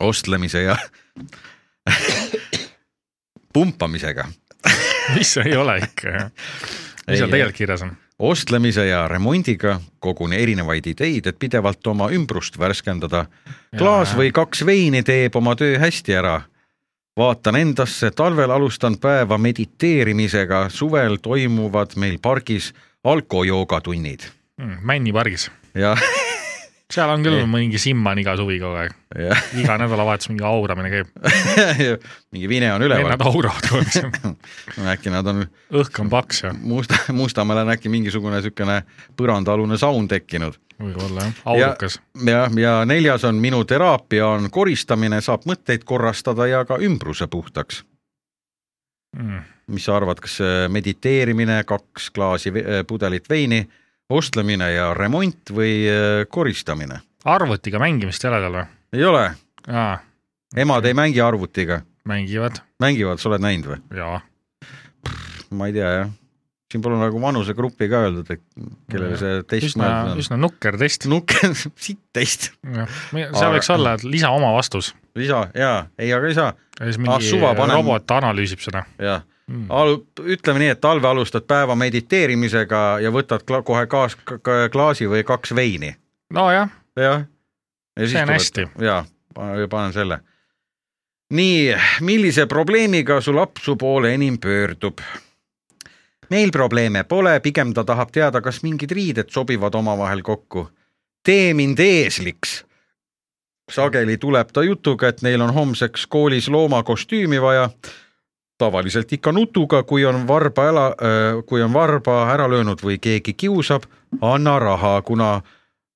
Speaker 2: ostlemise ja (coughs) pumpamisega ,
Speaker 3: mis see ei ole ikka jah .
Speaker 2: Ei,
Speaker 3: mis seal
Speaker 2: jah.
Speaker 3: tegelikult kirjas on ?
Speaker 2: ostlemise ja remondiga , koguni erinevaid ideid , et pidevalt oma ümbrust värskendada . klaas või kaks veini teeb oma töö hästi ära . vaatan endasse , talvel alustan päeva mediteerimisega , suvel toimuvad meil pargis alkojoogatunnid
Speaker 3: männipargis .
Speaker 2: ja
Speaker 3: Mm, seal on küll
Speaker 2: Ei.
Speaker 3: mingi Simman iga suvi kogu aeg .
Speaker 2: jah ,
Speaker 3: iga nädalavahetus mingi auramine käib .
Speaker 2: mingi vine on üleval
Speaker 3: vennad , auravad kogu aeg (laughs) seal .
Speaker 2: äkki nad on
Speaker 3: õhk on paks ja
Speaker 2: Musta , Mustamäel on äkki mingisugune niisugune põrandaalune saun tekkinud .
Speaker 3: võib-olla jah , aurukas .
Speaker 2: ja , ja neljas on minu teraapia on koristamine , saab mõtteid korrastada ja ka ümbruse puhtaks .
Speaker 3: Mm.
Speaker 2: mis sa arvad , kas äh, mediteerimine , kaks klaasi ve- äh, pudelit veini , ostlemine ja remont või äh, koristamine ?
Speaker 3: arvutiga mängimist ei ole seal või ?
Speaker 2: ei ole ,
Speaker 3: aa ,
Speaker 2: emad ei mängi arvutiga ,
Speaker 3: mängivad
Speaker 2: mängivad , sa oled näinud või ?
Speaker 3: ja
Speaker 2: ma ei tea jah , siin pole nagu vanusegruppi ka öeldud , et kellele see test
Speaker 3: üsna ,
Speaker 2: mõeldud on .
Speaker 3: üsna nukker
Speaker 2: (laughs)
Speaker 3: test .
Speaker 2: nuke , sitt test ,
Speaker 3: seal
Speaker 2: Aga-
Speaker 3: võiks olla , et lisa oma vastus .
Speaker 2: lisa ja ei , aga ei saa
Speaker 3: ja siis
Speaker 2: Ah,
Speaker 3: mingi
Speaker 2: suva, panen- Ah.
Speaker 3: robot analüüsib seda .
Speaker 2: ja
Speaker 3: Hmm.
Speaker 2: Al, ütleme nii , et talve alustad päeva mediteerimisega ja võtad kla, kohe kaas, k- k- klaasi või kaks veini ,
Speaker 3: nojah ,
Speaker 2: jah .
Speaker 3: See on hästi. .
Speaker 2: ja , panen selle . nii , millise probleemiga su laps su poole enim pöördub ? meil probleeme pole , pigem ta tahab teada , kas mingid riided sobivad omavahel kokku . tee mind eesliks . sageli tuleb ta jutuga , et neil on homseks koolis loomakostüümi vaja tavaliselt ikka nutuga , kui on varba ära , kui on varba ära löönud või keegi kiusab , anna raha , kuna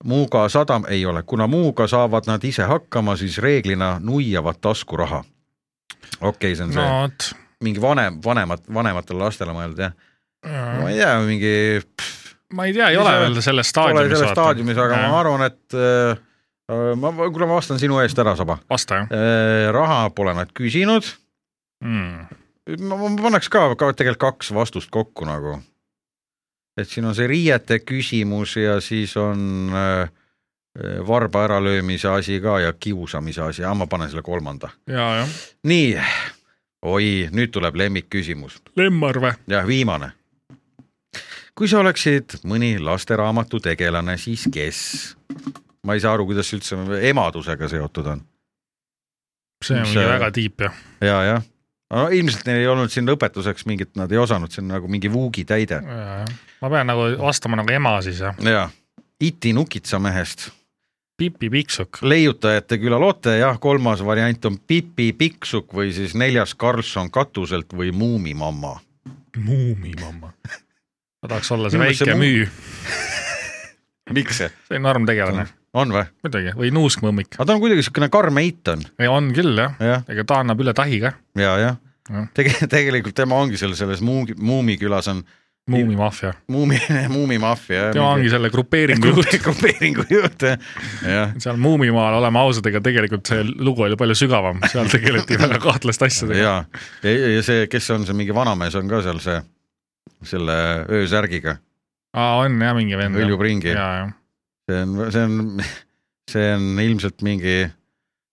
Speaker 2: Muuga sadam ei ole , kuna Muuga saavad nad ise hakkama , siis reeglina nuiavad taskuraha . okei okay, , see on see
Speaker 3: no
Speaker 2: no.
Speaker 3: vot ,
Speaker 2: mingi vanem , vanemat , vanematele lastele mõeldud jah , ma ei tea , mingi pff,
Speaker 3: ma ei tea , ei ole
Speaker 2: Ise-
Speaker 3: veel selles
Speaker 2: pole
Speaker 3: staadiumis .
Speaker 2: selles staadiumis , aga ma arvan , et äh, ma , kuule , ma vastan sinu eest ära , Saba .
Speaker 3: vasta jah
Speaker 2: raha pole nad küsinud ,
Speaker 3: mm. .
Speaker 2: ma, ma paneks ka, ka tegelikult kaks vastust kokku nagu . et siin on see riiete küsimus ja siis on äh, varba äralöömise asi ka ja kiusamise asi , ma panen selle kolmanda .
Speaker 3: ja , jah .
Speaker 2: nii , oi , nüüd tuleb lemmikküsimus ,
Speaker 3: Lemmar või ?
Speaker 2: jah , viimane . kui sa oleksid mõni lasteraamatu tegelane , siis kes ? ma ei saa aru , kuidas see üldse emadusega seotud on .
Speaker 3: see on
Speaker 2: Mis
Speaker 3: mingi
Speaker 2: see-
Speaker 3: väga tiip jah .
Speaker 2: ja , jah . no ilmselt neil ei olnud siin õpetuseks mingit , nad ei osanud , see on nagu mingi vuugi täide .
Speaker 3: ma pean nagu vastama nagu ema siis jah .
Speaker 2: jaa , Iti Nukitsa mehest ,
Speaker 3: Pipi Pikksuk .
Speaker 2: leiutajate külaloote , jah , kolmas variant on Pipi Pikksuk või siis neljas Karlsson katuselt või Muumimamma .
Speaker 3: muumimamma . ma tahaks olla see
Speaker 2: Minu meelest see
Speaker 3: väike
Speaker 2: muu-
Speaker 3: müü ,
Speaker 2: miks see
Speaker 3: see on norm tegelane ,
Speaker 2: on või ?
Speaker 3: muidugi , või nuuskmõmmik .
Speaker 2: aga ta on kuidagi niisugune karm eit on ,
Speaker 3: on küll jah ,
Speaker 2: Ah. jah ,
Speaker 3: ega ta annab üle tahi ka ,
Speaker 2: ja , jah
Speaker 3: Jah. .
Speaker 2: Tege- , tegelikult tema ongi seal selles Muugi , Muumi külas on
Speaker 3: muumimaffia .
Speaker 2: Muumi , (laughs) Muumimaffia .
Speaker 3: tema ongi selle grupeeringu juht .
Speaker 2: grupeeringu juht , jah , jah .
Speaker 3: seal Muumimaal , oleme ausad , ega tegelikult see lugu oli palju sügavam , seal tegeleti väga kahtlaste asjadega .
Speaker 2: ja , ja see , kes on see mingi vanamees , on ka seal see , selle öösärgiga ,
Speaker 3: aa , on jah , mingi vend .
Speaker 2: hõljub ringi ,
Speaker 3: ja , jah .
Speaker 2: see on , see on , see on ilmselt mingi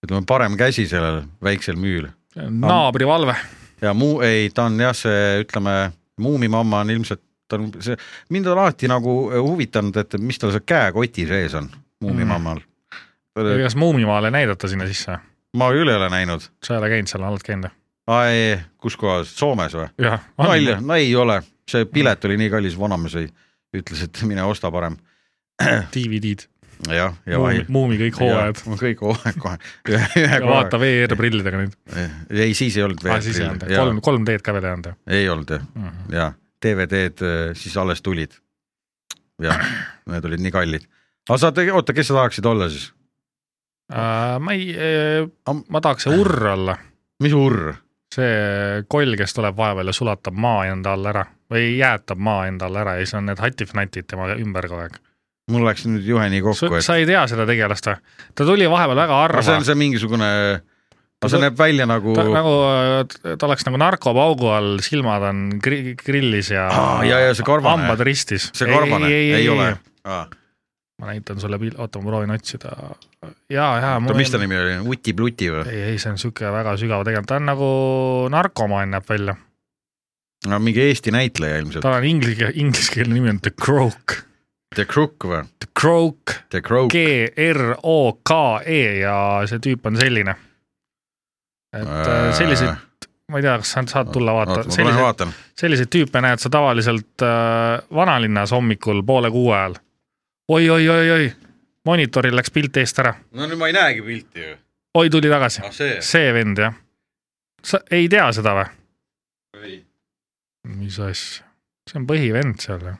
Speaker 2: ütleme , parem käsi sellel väiksel müül
Speaker 3: naabrivalve ,
Speaker 2: ja muu ei , ta on jah , see ütleme , muumimamma on ilmselt , ta on see , mind on alati nagu huvitanud , et mis tal see käekoti sees on muumimammal mm. .
Speaker 3: kas Muumimaale näidata sinna sisse ?
Speaker 2: ma küll ei ole näinud ,
Speaker 3: sa ei ole käinud seal , oled käinud või ?
Speaker 2: kus kohas , Soomes või ?
Speaker 3: jah .
Speaker 2: nalja , no ei ole , see pilet oli nii kallis , vanamees ei , ütles , et mine osta parem .
Speaker 3: DVD-d ,
Speaker 2: jah , ja
Speaker 3: Muumi ,
Speaker 2: vahel .
Speaker 3: Muumi kõik hooajad .
Speaker 2: kõik hooajad kohe , (laughs) ühe
Speaker 3: ja vaata VR-prillidega neid .
Speaker 2: ei , siis ei olnud
Speaker 3: aa , siis ei olnud ,
Speaker 2: veel .
Speaker 3: kolm , kolm D-d ka veel ei olnud jah
Speaker 2: ei olnud jah ,
Speaker 3: mm -hmm. .
Speaker 2: ja DVD-d äh, siis alles tulid . jah , need olid nii kallid . aga sa , oota , kes sa tahaksid olla siis ?
Speaker 3: Äh, ma ei ,
Speaker 2: Am-
Speaker 3: ma tahaks see urr olla ,
Speaker 2: mis urr ?
Speaker 3: see koll , kes tuleb vahepeal ja sulatab maa enda all ära või jäätab maa enda all ära ja siis on need hatifnatid tema ümber kogu aeg .
Speaker 2: mul läks nüüd juhe nii kokku , et
Speaker 3: sa ei tea seda tegelast või ? ta tuli vahepeal väga
Speaker 2: aga see
Speaker 3: harva
Speaker 2: on , see mingisugune , aga see
Speaker 3: Ta-
Speaker 2: näeb välja nagu
Speaker 3: ta nagu , ta oleks nagu narkopaugu all , silmad on gri- grillis ja
Speaker 2: Aa, ja- ja see karvane.
Speaker 3: hambad ristis .
Speaker 2: see karvane , ei ole .
Speaker 3: ma näitan sulle pil- , oota , ma proovin otsida . ja , ja .
Speaker 2: oota , mis ta nimi oli , Uti-Pluti või ?
Speaker 3: ei , ei , see on sihuke väga sügav tegelikult , ta on nagu narkomaan näeb välja ,
Speaker 2: no mingi Eesti näitleja ilmselt ,
Speaker 3: tal on inglise , ingliskeelne nimi on The Croak ,
Speaker 2: The Crook või ?
Speaker 3: The Croak ,
Speaker 2: The Crook ,
Speaker 3: G R O K E ja see tüüp on selline . et äh, selliseid , ma ei tea , kas sa saad tulla vaata ,
Speaker 2: ma tulen
Speaker 3: selliseid ,
Speaker 2: vaatan ,
Speaker 3: selliseid tüüpe näed sa tavaliselt äh, vanalinnas hommikul poole kuue ajal oi, . oi-oi-oi-oi , monitoril läks pilt eest ära ,
Speaker 2: no nüüd ma ei näegi pilti ju ,
Speaker 3: oi tuli tagasi ,
Speaker 2: ah see ,
Speaker 3: see vend jah . sa ei tea seda või ?
Speaker 2: ei ,
Speaker 3: mis asja , see on põhivend seal ju .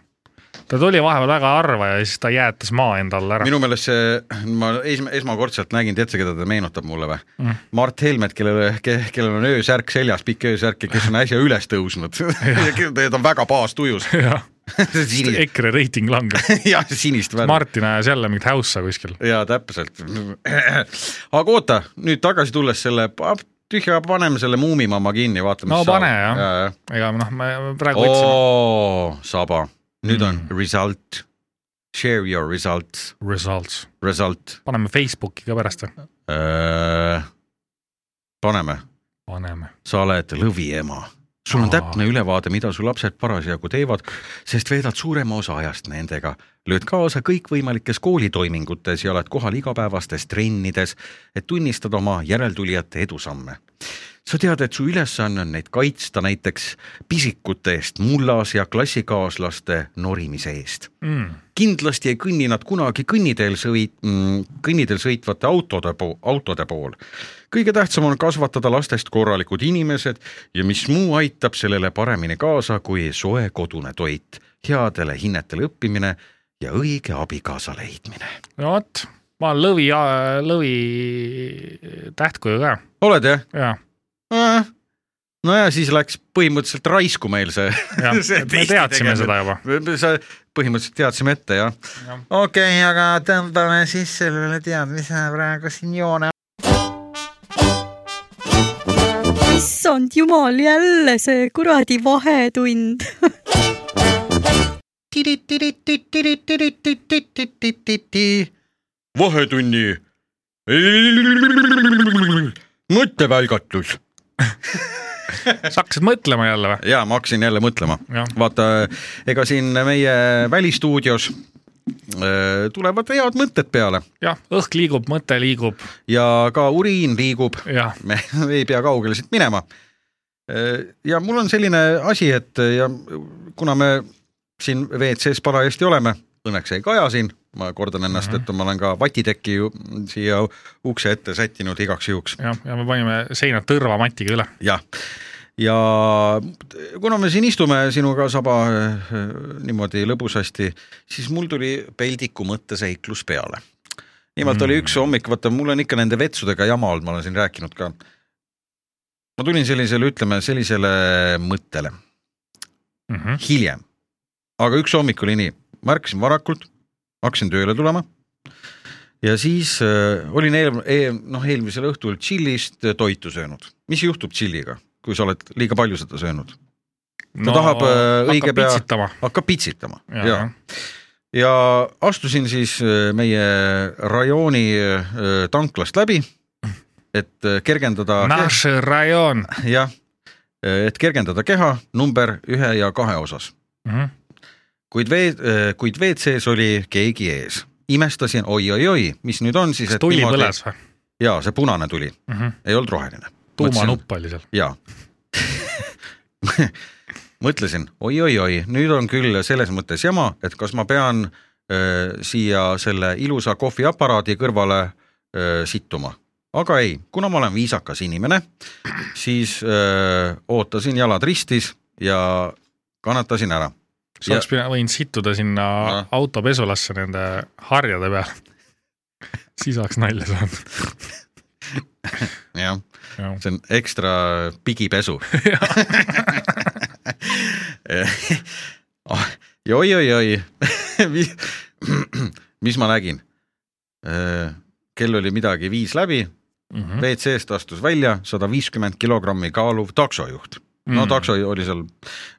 Speaker 3: ta tuli vahepeal väga harva ja siis ta jäätas maa enda alla ära .
Speaker 2: minu meelest see , ma esma , esmakordselt nägin , tead sa , keda ta meenutab mulle või
Speaker 3: Mm.
Speaker 2: mm. ? Mart Helmet , kellele ke, , kellel on öösärk seljas , pikk öösärk ja kes on äsja üles
Speaker 3: (laughs)
Speaker 2: tõusnud ja kes- ta on väga paastujus ,
Speaker 3: jah ,
Speaker 2: sinist ,
Speaker 3: EKRE reiting
Speaker 2: (laughs)
Speaker 3: langeb .
Speaker 2: jah , sinist värvi
Speaker 3: Martin ajas jälle mingit häussa kuskil .
Speaker 2: jaa , täpselt . aga oota , nüüd tagasi tulles selle , tühja , paneme selle muumimamma kinni , vaatame .
Speaker 3: No pane, jah.
Speaker 2: ja, . Ja.
Speaker 3: ega noh , me praegu otsime .
Speaker 2: oo , saba , nüüd on
Speaker 3: Mm.
Speaker 2: result , share your result ,
Speaker 3: Results ,
Speaker 2: result .
Speaker 3: paneme Facebooki ka pärast või ?
Speaker 2: paneme ,
Speaker 3: paneme .
Speaker 2: sa oled lõviema , sul on
Speaker 3: Aa.
Speaker 2: täpne ülevaade , mida su lapsed parasjagu teevad , sest veedad suurema osa ajast nendega . lööd kaasa kõikvõimalikes koolitoimingutes ja oled kohal igapäevastes trennides , et tunnistada oma järeltulijate edusamme sa tead , et su ülesanne on neid kaitsta näiteks pisikute eest mullas ja klassikaaslaste norimise eest .
Speaker 3: mm. .
Speaker 2: kindlasti ei kõnni nad kunagi kõnniteel sõit- , kõnniteel sõitvate autode po- , autode pool . kõige tähtsam on kasvatada lastest korralikud inimesed ja mis muu aitab sellele paremini kaasa kui soe kodune toit , headele hinnetele õppimine ja õige abikaasa leidmine .
Speaker 3: no vot , ma olen lõvi , lõvi tähtkuju ka ,
Speaker 2: oled jah ?
Speaker 3: jaa .
Speaker 2: no ja siis läks põhimõtteliselt raisku meil see . (laughs)
Speaker 3: jah ,
Speaker 2: See
Speaker 3: me
Speaker 2: testi tegemine.
Speaker 3: teadsime seda juba .
Speaker 2: sa põhimõtteliselt teadsime ette jah ?
Speaker 4: okei okay, , aga tõmbame siis sellele teadmise praegu siin joone .
Speaker 5: issand jumal , jälle see kuradi vahetund .
Speaker 2: vahetunni mõttevälgatus
Speaker 3: sa hakkasid mõtlema jälle või ?
Speaker 2: ja ma hakkasin jälle mõtlema ,
Speaker 3: jah ,
Speaker 2: vaata ega siin meie välistuudios öö, tulevad head mõtted peale
Speaker 3: jah , õhk liigub , mõte liigub ,
Speaker 2: ja ka uriin liigub ,
Speaker 3: jah ,
Speaker 2: me (laughs) ei pea kaugele siit minema . ja mul on selline asi , et ja kuna me siin WC-s parajasti oleme , õnneks ei kaja siin , ma kordan ennast , et ma olen ka vatiteki ju siia ukse ette sättinud igaks juhuks
Speaker 3: jah , ja me panime seina tõrva matiga üle .
Speaker 2: jah , ja kuna me siin istume sinuga saba äh, niimoodi lõbusasti , siis mul tuli peldiku mõtteseiklus peale . nimelt mm. oli üks hommik , vaata mul on ikka nende vetsudega jama olnud , ma olen siin rääkinud ka . ma tulin sellisele , ütleme sellisele mõttele
Speaker 3: Mhm.
Speaker 2: hiljem , aga üks hommik oli nii , ma ärkasin varakult , hakkasin tööle tulema ja siis äh, olin eel, eel, noh , eelmisel õhtul tšillist toitu söönud . mis juhtub tšilliga , kui sa oled liiga palju seda söönud ? Ta tahab, äh, õige pea-
Speaker 3: pitsitama .
Speaker 2: hakkab pitsitama ja, ja.
Speaker 3: jah ,
Speaker 2: ja astusin siis äh, meie rajooni äh, tanklast läbi , et äh, kergendada ,
Speaker 3: Naš rajoon .
Speaker 2: jah , et kergendada keha number ühe ja kahe osas .
Speaker 3: Mhm.
Speaker 2: kuid vee- , kuid WC-s oli keegi ees . imestasin oi-oi-oi , mis nüüd on siis ,
Speaker 3: kas
Speaker 2: et
Speaker 3: tuli põles või ? Mhm.
Speaker 2: jaa , see punane tuli , ei olnud roheline .
Speaker 3: tuumanupp oli seal .
Speaker 2: jaa . mõtlesin oi-oi-oi , nüüd on küll selles mõttes jama , et kas ma pean öö, siia selle ilusa kohviaparaadi kõrvale öö, sittuma . aga ei , kuna ma olen viisakas inimene , siis öö, ootasin jalad ristis ja kannatasin ära .
Speaker 3: sa oleks pidanud , võinud sittuda sinna
Speaker 2: Jah.
Speaker 3: autopesulasse nende harjade peale . (laughs) siis oleks nalja saanud .
Speaker 2: jah ,
Speaker 3: jah ,
Speaker 2: see on ekstra pigipesu ja oi-oi-oi , mis ma nägin ? kell oli midagi viis läbi ,
Speaker 3: Mhm.
Speaker 2: WC-st astus välja sada viiskümmend kilogrammi kaaluv taksojuht . no
Speaker 3: Mm.
Speaker 2: takso oli seal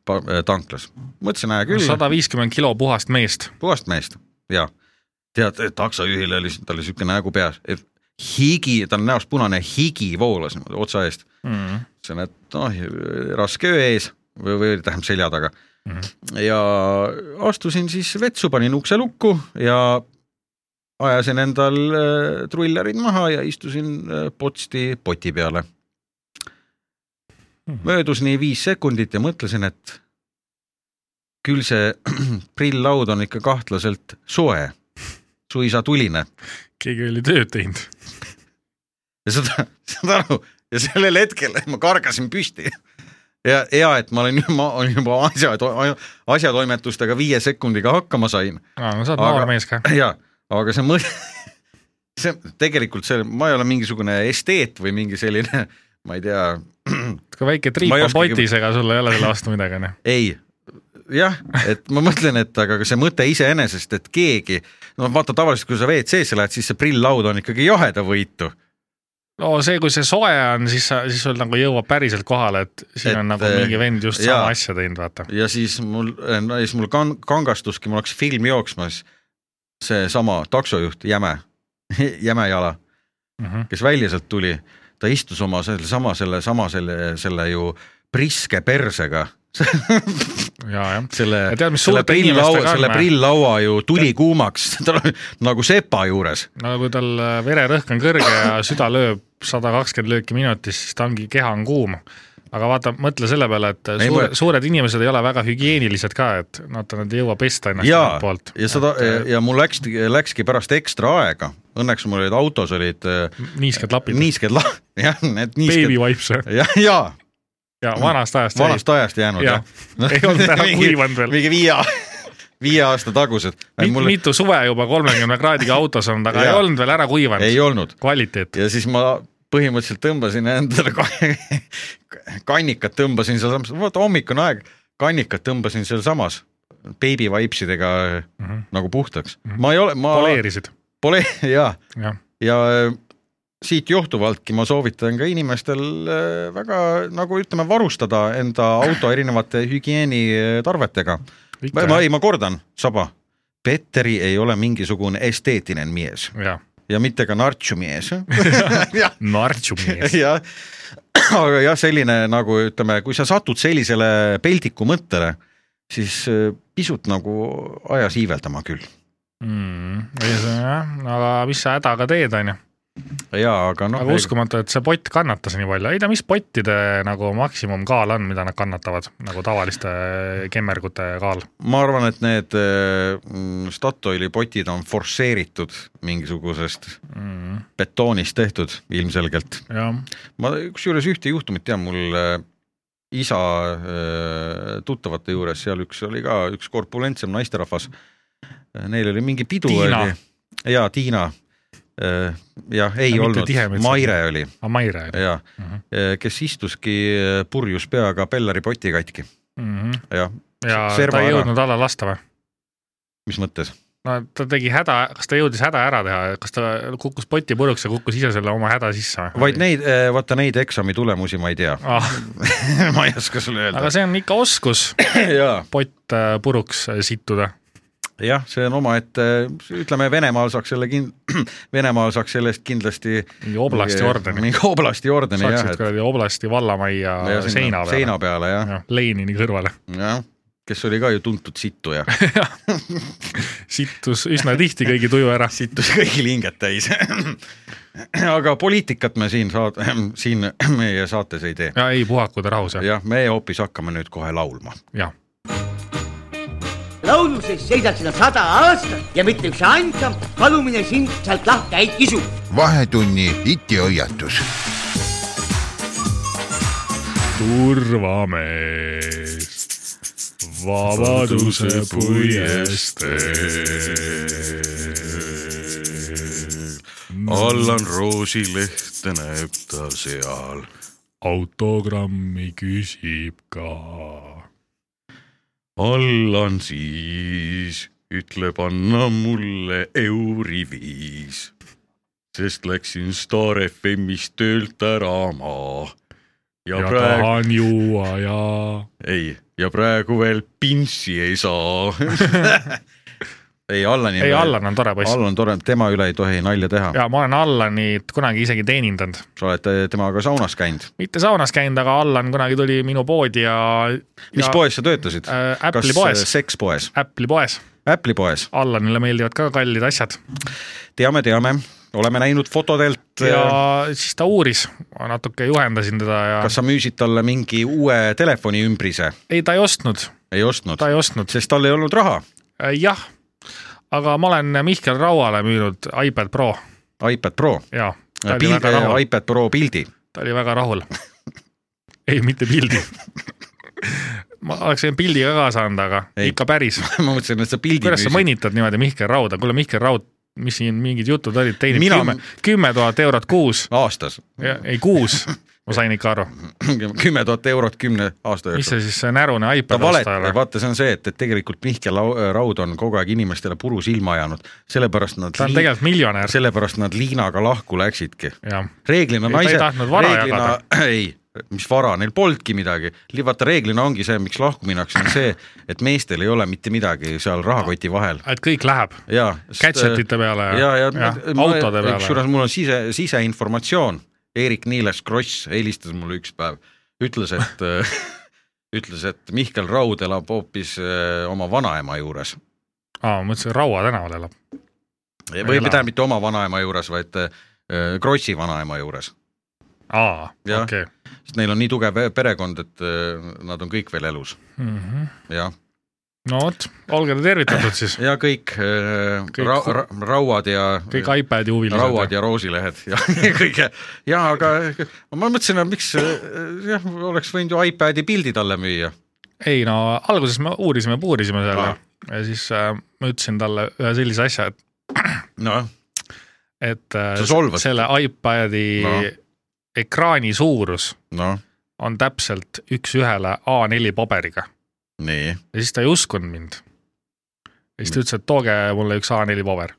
Speaker 2: pa- äh, tanklas , mõtlesin , hea küll ,
Speaker 3: sada viiskümmend kilo puhast meest .
Speaker 2: puhast meest ja tead , taksojuhil oli , tal oli niisugune nägu peas , higi , tal näos punane higi voolas niimoodi otsa eest , ütlesin , et noh , raske öö ees või , või tähendab selja taga mm . -hmm. ja astusin siis vetsu , panin ukse lukku ja ajasin endal äh, truillarid maha ja istusin äh, potsti poti peale
Speaker 3: Mhm.
Speaker 2: möödus nii viis sekundit ja mõtlesin , et küll see (clears throat) prilllaud on ikka kahtlaselt soe , suisa tuline
Speaker 3: keegi oli tööd teinud .
Speaker 2: ja saad , saad aru , ja sellel hetkel ma kargasin püsti . ja hea , et ma olen , ma olin juba asja , asjatoimetustega viie sekundiga hakkama sain
Speaker 3: aa , no sa oled
Speaker 2: Aga-
Speaker 3: noor mees ka .
Speaker 2: ja , aga see mõte , see tegelikult see , ma ei ole mingisugune esteet või mingi selline , ma ei tea ,
Speaker 3: ka väike triip
Speaker 2: Ma ei
Speaker 3: on
Speaker 2: oskagi-
Speaker 3: potis , ega sul ei ole selle vastu midagi , onju .
Speaker 2: ei jah , et ma mõtlen , et aga see mõte iseenesest , et keegi , no vaata tavaliselt , kui sa WC-sse lähed , siis see prilllaud on ikkagi jahedavõitu
Speaker 3: no see , kui see soe on , siis sa , siis sul nagu jõuab päriselt kohale , et siin
Speaker 2: Et,
Speaker 3: et, on nagu
Speaker 2: eh,
Speaker 3: mingi vend just
Speaker 2: jaa.
Speaker 3: sama asja teinud , vaata .
Speaker 2: ja siis mul , no siis mul kan- , kangastuski , mul hakkas film jooksma , siis seesama taksojuht Jäme , (laughs) Jäme jala ,
Speaker 3: Mhm.
Speaker 2: kes välja sealt tuli , ta istus oma sellesama , sellesama selle , selle ju priske persega (laughs)
Speaker 3: ja , jah .
Speaker 2: selle
Speaker 3: Ja tead, mis ,
Speaker 2: selle
Speaker 3: suurte inimestega
Speaker 2: prilllaua ,
Speaker 3: on,
Speaker 2: selle
Speaker 3: vä?
Speaker 2: prilllaua ju tuli kuumaks (laughs) nagu sepa juures .
Speaker 3: no kui tal äh, vererõhk on kõrge ja süda lööb sada kakskümmend lööki minutis , siis ta ongi , keha on kuum . aga vaata , mõtle selle peale , et
Speaker 2: Ei,
Speaker 3: suure,
Speaker 2: ma-
Speaker 3: suured inimesed ei ole väga hügieenilised ka , et vaata , nad ei jõua pesta ennast
Speaker 2: ja
Speaker 3: igalt poolt ., äh,
Speaker 2: ja seda ja, ja mul läks , läkski pärast ekstra aega , õnneks mul olid autos olid äh,
Speaker 3: niisked lapid ,
Speaker 2: niisked la- , (laughs) jah , need
Speaker 3: baby
Speaker 2: niisked ,
Speaker 3: wipes
Speaker 2: (laughs) jah , jaa ,
Speaker 3: ja vanast ajast oli
Speaker 2: vanast ajast jäänud
Speaker 3: Jah.
Speaker 2: jah ja.
Speaker 3: Ei olnud ära kuivanud veel.
Speaker 2: mingi viie , (laughs) viie aasta tagused .
Speaker 3: Mit,
Speaker 2: mul
Speaker 3: mulle... mitu suve juba kolmekümne kraadiga autos olnud , aga ei
Speaker 2: Jaa.
Speaker 3: olnud veel ära kuivanud
Speaker 2: ei olnud
Speaker 3: kvaliteet .
Speaker 2: ja siis ma põhimõtteliselt tõmbasin endale ka- (laughs) kannikat tõmbasin sealsamas , vaata hommikune aeg , kannikat tõmbasin sealsamas baby vaipsidega mm
Speaker 3: Mhm.
Speaker 2: -hmm. nagu puhtaks mm . -hmm. ma ei ole , ma
Speaker 3: poleerisid ,
Speaker 2: pole (laughs) jaa ,
Speaker 3: jah .
Speaker 2: ja äh, siit johtuvaltki ma soovitan ka inimestel äh, väga nagu ütleme , varustada enda auto erinevate hügieenitarvetega . ma ei , ma kordan , saba , Petteri ei ole mingisugune esteetiline mees
Speaker 3: jah ,
Speaker 2: ja mitte ka nartsumees
Speaker 3: nartsumees .
Speaker 2: (laughs) jah , aga jah , selline nagu ütleme , kui sa satud sellisele peldiku mõttele , siis äh, pisut nagu ajas iiveldama küll .
Speaker 3: Mm, ei, see on jah , aga mis sa hädaga teed , onju .
Speaker 2: jaa , aga noh
Speaker 3: aga , uskumatu , et see pott kannatas nii palju , ei tea , mis pottide nagu maksimumkaal on , mida nad kannatavad , nagu tavaliste kemmergute kaal .
Speaker 2: ma arvan , et need äh, mm, Statoili potid on forsseeritud mingisugusest
Speaker 3: mm, .
Speaker 2: betoonist tehtud ilmselgelt .
Speaker 3: jah ,
Speaker 2: ma kusjuures ühte juhtumit tean , mul äh, isa äh, tuttavate juures , seal üks oli ka üks korpulentsem naisterahvas . Neil oli mingi pidu .
Speaker 3: Tiina.
Speaker 2: jaa , Tiina . jah , ei
Speaker 3: Äh, mitte
Speaker 2: olnud
Speaker 3: Tihemets. ,
Speaker 2: Maire oli
Speaker 3: Amaire oli
Speaker 2: ja
Speaker 3: Mhm. ,
Speaker 2: kes istuski äh, purjus peaga Pelleri poti katki
Speaker 3: mm . -hmm.
Speaker 2: ja
Speaker 3: ja
Speaker 2: Serva
Speaker 3: ta ei
Speaker 2: ära.
Speaker 3: jõudnud alla lasta või ?
Speaker 2: mis mõttes ?
Speaker 3: no ta tegi häda , kas ta jõudis häda ära teha , kas ta kukkus poti puruks ja kukkus ise selle oma häda sisse või ?
Speaker 2: vaid neid , vaata neid eksami tulemusi ma ei tea , (laughs)
Speaker 3: ah, .
Speaker 2: ma ei oska sulle
Speaker 3: aga
Speaker 2: öelda .
Speaker 3: see on ikka oskus ,
Speaker 2: (laughs) jaa ,
Speaker 3: pott äh, puruks äh, sittuda .
Speaker 2: jah , see on omaette , ütleme Venemaal saaks selle kin- , (clears throat) Venemaal saaks sellest kindlasti
Speaker 3: mingi oblasti ordeni .
Speaker 2: mingi oblasti ordeni jah ,
Speaker 3: saaksid
Speaker 2: et
Speaker 3: kuradi oblasti vallamajja
Speaker 2: ja sinna-
Speaker 3: seina peale .
Speaker 2: seina peale jah ,
Speaker 3: Lenini kõrvale .
Speaker 2: jah , kes oli ka ju tuntud
Speaker 3: (laughs)
Speaker 2: situja ,
Speaker 3: sittus üsna tihti kõigi tuju ära .
Speaker 2: sittus kõigil hinget täis . (clears throat) aga poliitikat me siin saad- , (clears throat) siin meie saates ei tee .
Speaker 3: ja ei , puhakud rahus ja ,
Speaker 2: jah , me hoopis hakkame nüüd kohe laulma .
Speaker 3: ja. .
Speaker 6: lauluses seisad sina sada aastat ja mitte üks ainsam palumine sind sealt lahti ei kisu .
Speaker 7: Vahetunni itihoiatus .
Speaker 3: turvamees , vabaduse puiesteel ,
Speaker 2: Allan Roosi lehte näeb ta seal .
Speaker 3: autogrammi küsib ka .
Speaker 2: Allan siis ütleb , anna mulle euri viis , sest läksin Star FM-ist töölt ära ma . ja,
Speaker 3: ja
Speaker 2: ja praegu tahan... ,
Speaker 3: tahan juua ja
Speaker 2: ei , ja praegu veel pintsi ei saa . (laughs) ei , Allani .
Speaker 3: ei , Allan on tore poiss .
Speaker 2: Allan tore , tema üle ei tohi nalja teha ,
Speaker 3: ja ma olen Allanit kunagi isegi teenindanud ,
Speaker 2: sa oled eh, temaga saunas käinud .
Speaker 3: mitte saunas käinud , aga Allan kunagi tuli minu poodi ja .
Speaker 2: mis
Speaker 3: ja,
Speaker 2: ja... ? poes sa töötasid
Speaker 3: Äh, Apple'i
Speaker 2: kas
Speaker 3: poes.
Speaker 2: eh, Sex poes ,
Speaker 3: Apple'i poes ,
Speaker 2: Apple'i poes ,
Speaker 3: Allanile meeldivad ka kallid asjad
Speaker 2: teame , teame , oleme näinud fotodelt äh, ja... .
Speaker 3: ja siis ta uuris , ma natuke juhendasin teda ja
Speaker 2: kas sa müüsid talle mingi uue telefoni ümbrise ?
Speaker 3: ei , ta ei ostnud ,
Speaker 2: ei ostnud
Speaker 3: ta , ei ostnud ,
Speaker 2: sest tal ei olnud raha .
Speaker 3: Äh, jah . aga ma olen Mihkel Rauale müünud iPad Pro
Speaker 2: iPad Pro ,
Speaker 3: ja ta
Speaker 2: Äh,
Speaker 3: oli väga rahul ,
Speaker 2: iPad Pro pildi , (laughs)
Speaker 3: ta oli väga rahul . (laughs) ei , mitte pildi . (laughs) ma oleks võinud pildiga ka saanud , aga ei.
Speaker 2: Ei.
Speaker 3: ikka päris .
Speaker 2: ma mõtlesin , et sa pildi
Speaker 3: kuidas sa
Speaker 2: müüsid .
Speaker 3: mõnitad niimoodi Mihkel Rauda , kuule Mihkel Raud , mis siin mingid jutud olid , teenib
Speaker 2: Mina-
Speaker 3: kümme , kümme tuhat eurot kuus ,
Speaker 2: aastas
Speaker 3: ei kuus , ma sain ikka aru ,
Speaker 2: (laughs) kümme tuhat eurot kümne aasta
Speaker 3: mis
Speaker 2: jooksul .
Speaker 3: see siis see närune
Speaker 2: ta
Speaker 3: iPad
Speaker 2: valetab , vaata , see on see , et , et tegelikult Mihkel Lau- Raud on kogu aeg inimestele puru silma ajanud , sellepärast nad
Speaker 3: ta on , tegelikult miljonär ,
Speaker 2: sellepärast nad Liinaga lahku läksidki
Speaker 3: jah
Speaker 2: reeglina
Speaker 3: Ei, ta ei
Speaker 2: naised ,
Speaker 3: tahtnud vara
Speaker 2: reeglina , (clears throat) ei , mis vara , neil polnudki midagi . vaata , reeglina ongi see , miks lahku minnakse , on see , et meestel ei ole mitte midagi seal rahakoti vahel äh,
Speaker 3: et kõik läheb
Speaker 2: ja .
Speaker 3: gadget'ite peale ja,
Speaker 2: ja , ja, ja
Speaker 3: autode peale .
Speaker 2: kusjuures mul on sise , siseinformatsioon . Eerik-Niiles Kross helistas mulle üks päev , ütles , et äh, (laughs) ütles , et Mihkel Raud elab hoopis äh, oma vanaema juures .
Speaker 3: aa , ma mõtlesin , Raua tänaval elab .
Speaker 2: või
Speaker 3: ela.
Speaker 2: mitte mitte oma vanaema juures , vaid äh, Krossi vanaema juures .
Speaker 3: aa , okei
Speaker 2: Jah.
Speaker 3: okay. .
Speaker 2: sest neil on nii tugev perekond , et äh, nad on kõik veel elus
Speaker 3: Mhm.
Speaker 2: ja ,
Speaker 3: no vot , olge te tervitatud siis ,
Speaker 2: ja kõik, äh,
Speaker 3: Kõik
Speaker 2: ra
Speaker 3: hu-
Speaker 2: ra rauad ja
Speaker 3: kõik iPadi
Speaker 2: rauad
Speaker 3: huvilised .
Speaker 2: ja roosilehed (laughs) ja kõige ja aga ma mõtlesin , et miks äh, jah , oleks võinud ju iPadi pildi talle müüa .
Speaker 3: ei no alguses me uurisime , puurisime selle
Speaker 2: Aa.
Speaker 3: ja siis äh, ma ütlesin talle ühe sellise asja , et ,
Speaker 2: noh ,
Speaker 3: et äh,
Speaker 2: Sa solvasid
Speaker 3: selle iPadi no.
Speaker 2: No.
Speaker 3: ekraani suurus
Speaker 2: noh ,
Speaker 3: on täpselt üks-ühele A4 paberiga
Speaker 2: nii ,
Speaker 3: ja siis ta ei uskunud mind . ja siis ta ütles , et tooge mulle üks A4 paber .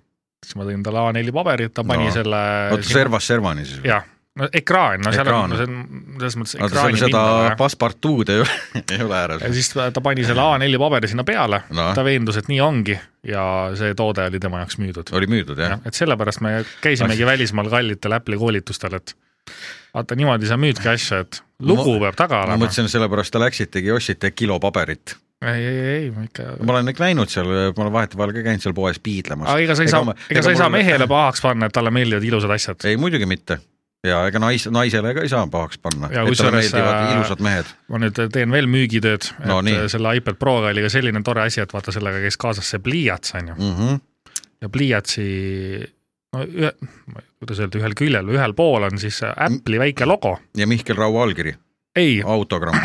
Speaker 3: siis ma tõin talle A4 paberi , ta pani
Speaker 2: No.
Speaker 3: no. selle .
Speaker 2: oota servas servani siis või ?
Speaker 3: jah , no ekraan , no seal
Speaker 2: Ekraan.
Speaker 3: on , no see on selles mõttes
Speaker 2: oota , sul
Speaker 3: ekraani
Speaker 2: seda
Speaker 3: pinda .
Speaker 2: passepartuud ei ole , ei ole Noh, ääres
Speaker 3: ja . siis ta ta pani selle A4 paberi sinna peale
Speaker 2: No.
Speaker 3: no. , ta veendus , et nii ongi ja see toode oli tema jaoks müüdud .
Speaker 2: oli müüdud jah ?
Speaker 3: et sellepärast me käisimegi välismaal kallitel Apple'i koolitustel , et vaata niimoodi sa müüdki asja , et lugu
Speaker 2: Ma-
Speaker 3: peab taga
Speaker 2: ma
Speaker 3: olema .
Speaker 2: mõtlesin , sellepärast te läksitegi , ostsite kilo paberit .
Speaker 3: ei , ei , ei , ma ikka .
Speaker 2: ma olen ikka näinud seal , ma olen vahetevahel ka käinud seal poes piidlemas .
Speaker 3: aga ega sa ei saa , ega sa ei saa mehele pahaks panna , et talle meeldivad ilusad asjad .
Speaker 2: ei , muidugi mitte . ja ega nais , naisele ka ei saa pahaks panna ,
Speaker 3: Ja
Speaker 2: et talle
Speaker 3: kusjuures,
Speaker 2: meeldivad
Speaker 3: äh,
Speaker 2: ilusad mehed .
Speaker 3: ma nüüd teen veel müügitööd
Speaker 2: No
Speaker 3: et äh,
Speaker 2: nii.
Speaker 3: selle iPad Proga oli ka selline tore asi , et vaata sellega käis kaasas see pliiats onju
Speaker 2: Mm -hmm.
Speaker 3: ja pliiatsi no ühe , kuidas öelda , ühel küljel , ühel pool on siis Apple'i väike logo .
Speaker 2: ja Mihkel Raua allkiri ,
Speaker 3: ei ,
Speaker 2: autogramm .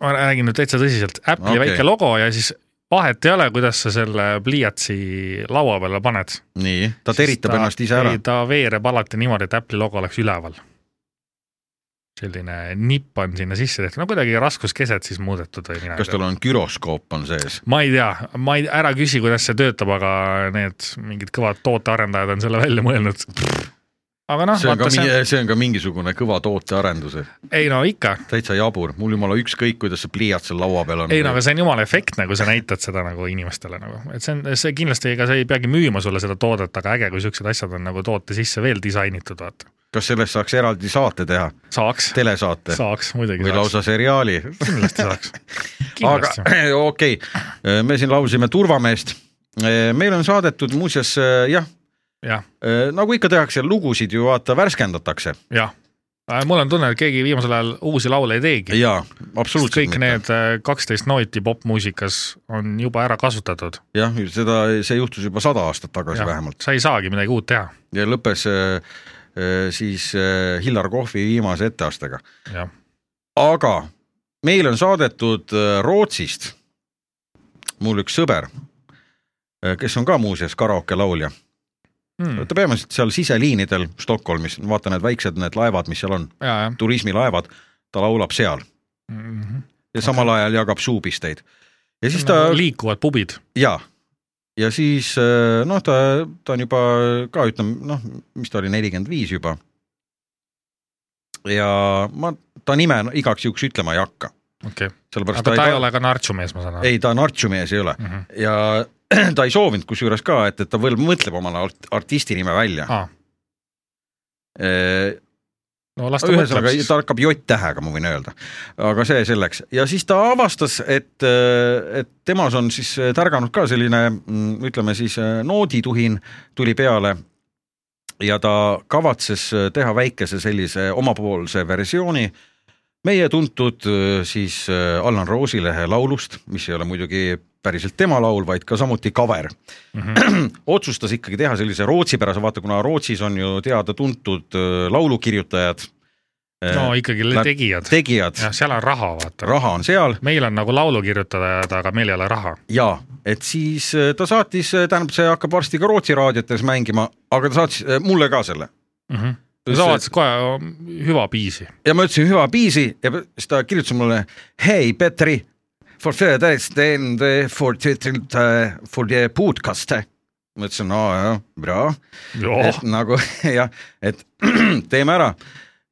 Speaker 3: ma räägin nüüd täitsa tõsiselt , Apple'i
Speaker 2: Okei.
Speaker 3: okay. väike logo ja siis vahet ei ole , kuidas sa selle pliiatsi laua peale paned .
Speaker 2: nii , ta teritab ta, ennast ise ära .
Speaker 3: ta veereb alati niimoodi , et Apple'i logo oleks üleval . selline nipp on sinna sisse tehtud , no kuidagi raskuskeset siis muudetud või mina ei
Speaker 2: kas
Speaker 3: tea
Speaker 2: tal on güroskoop on sees ?
Speaker 3: ma ei tea , ma ei , ära küsi , kuidas see töötab , aga need mingid kõvad tootearendajad on selle välja mõelnud . aga noh ,
Speaker 2: see on ka
Speaker 3: vaata see on ,
Speaker 2: mingi , see on ka mingisugune kõva tootearendus ,
Speaker 3: ei no ikka ,
Speaker 2: täitsa jabur , mul jumala ükskõik , kuidas see pliiats seal laua peal on .
Speaker 3: ei no aga see on jumala efektne , kui sa näitad seda nagu inimestele nagu , et see on , see kindlasti , ega see ei peagi müüma sulle seda toodet , aga äge , kui siuksed asjad on nagu toote sisse veel disainitud , vaata .
Speaker 2: kas sellest saaks eraldi saate teha ,
Speaker 3: saaks ,
Speaker 2: telesaate
Speaker 3: saaks muidugi
Speaker 2: või
Speaker 3: saaks ,
Speaker 2: lausa seriaali ?
Speaker 3: kindlasti saaks .
Speaker 2: aga
Speaker 3: kindlasti ,
Speaker 2: (clears throat) okei , me siin laulsime Turvameest . meile on saadetud muuseas eh, jah ,
Speaker 3: jah ,
Speaker 2: nagu ikka tehakse , lugusid ju vaata värskendatakse
Speaker 3: jah . mul on tunne , et keegi viimasel ajal uusi laule ei teegi .
Speaker 2: ja absoluutselt .
Speaker 3: kõik need äh, kaksteist nooti popmuusikas on juba ära kasutatud .
Speaker 2: jah , seda , see juhtus juba sada aastat tagasi ja. vähemalt
Speaker 3: sa ei saagi midagi uut teha .
Speaker 2: ja lõppes eh, eh, siis eh, Hillar Kohvi viimase etteastega .
Speaker 3: jah ,
Speaker 2: aga meile on saadetud eh, Rootsist mul üks sõber , kes on ka muuseas karaokelaulja
Speaker 3: ja ,
Speaker 2: ta peamiselt seal siseliinidel Stockholmis , vaata need väiksed need laevad , mis seal on ,
Speaker 3: jah . Mhm.
Speaker 2: turismilaevad , ta laulab seal ja samal ajal jagab suupisteid . ja siis ta
Speaker 3: liikuvad pubid ,
Speaker 2: ja , ja siis eh, noh , ta , ta on juba ka ütleme noh , mis ta oli , nelikümmend viis juba . ja ma ta nime no, igaks juhuks ütlema ei hakka ,
Speaker 3: okei okay. .
Speaker 2: sellepärast
Speaker 3: aga ta ei ole ka nartsumees , ma saan aru .
Speaker 2: ei , ta nartsumees ei ole
Speaker 3: Mm -hmm.
Speaker 2: ja (clears throat) ta ei soovinud kusjuures ka , et , et ta veel mõtleb omale art, artisti nime välja Äh,
Speaker 3: Aa. . no las ta mõtleb
Speaker 2: ühesõnaga
Speaker 3: siis
Speaker 2: ta . hakkab J-tähega , ma võin öelda , aga see selleks ja siis ta avastas , et , et temas on siis äh, tärganud ka selline mm, ütleme siis eh, noodituhin tuli peale ja ta kavatses äh, teha väikese sellise omapoolse versiooni meie tuntud eh, siis eh, Allan Roosilehe laulust , mis ei ole muidugi päriselt tema laul , vaid ka samuti cover
Speaker 3: Mm -hmm.
Speaker 2: (clears throat) otsustas ikkagi teha sellise rootsipärase , vavaata , kuna Rootsis on ju teada-tuntud öö, laulukirjutajad .
Speaker 3: no ikkagi
Speaker 2: Nad-
Speaker 3: Lä... tegijad ,
Speaker 2: tegijad ,
Speaker 3: jah , seal on raha , vaata .
Speaker 2: raha on seal
Speaker 3: meil on nagu laulu kirjutajad , aga meil ei ole raha .
Speaker 2: ja et siis öö, ta saatis , tähendab , see hakkab varsti ka Rootsi raadiotes mängima , aga ta saatis öö, mulle ka selle . Mhm.
Speaker 3: sa vaatasid kohe oh, hüva piisi .
Speaker 2: ja ma ütlesin hüva piisi ja siis ta kirjutas mulle hei Petri , for the test and for the , for the podcast . ma ütlesin , aa jah , bra
Speaker 3: jah
Speaker 2: et , nagu (laughs) jah , et (clears throat) teeme ära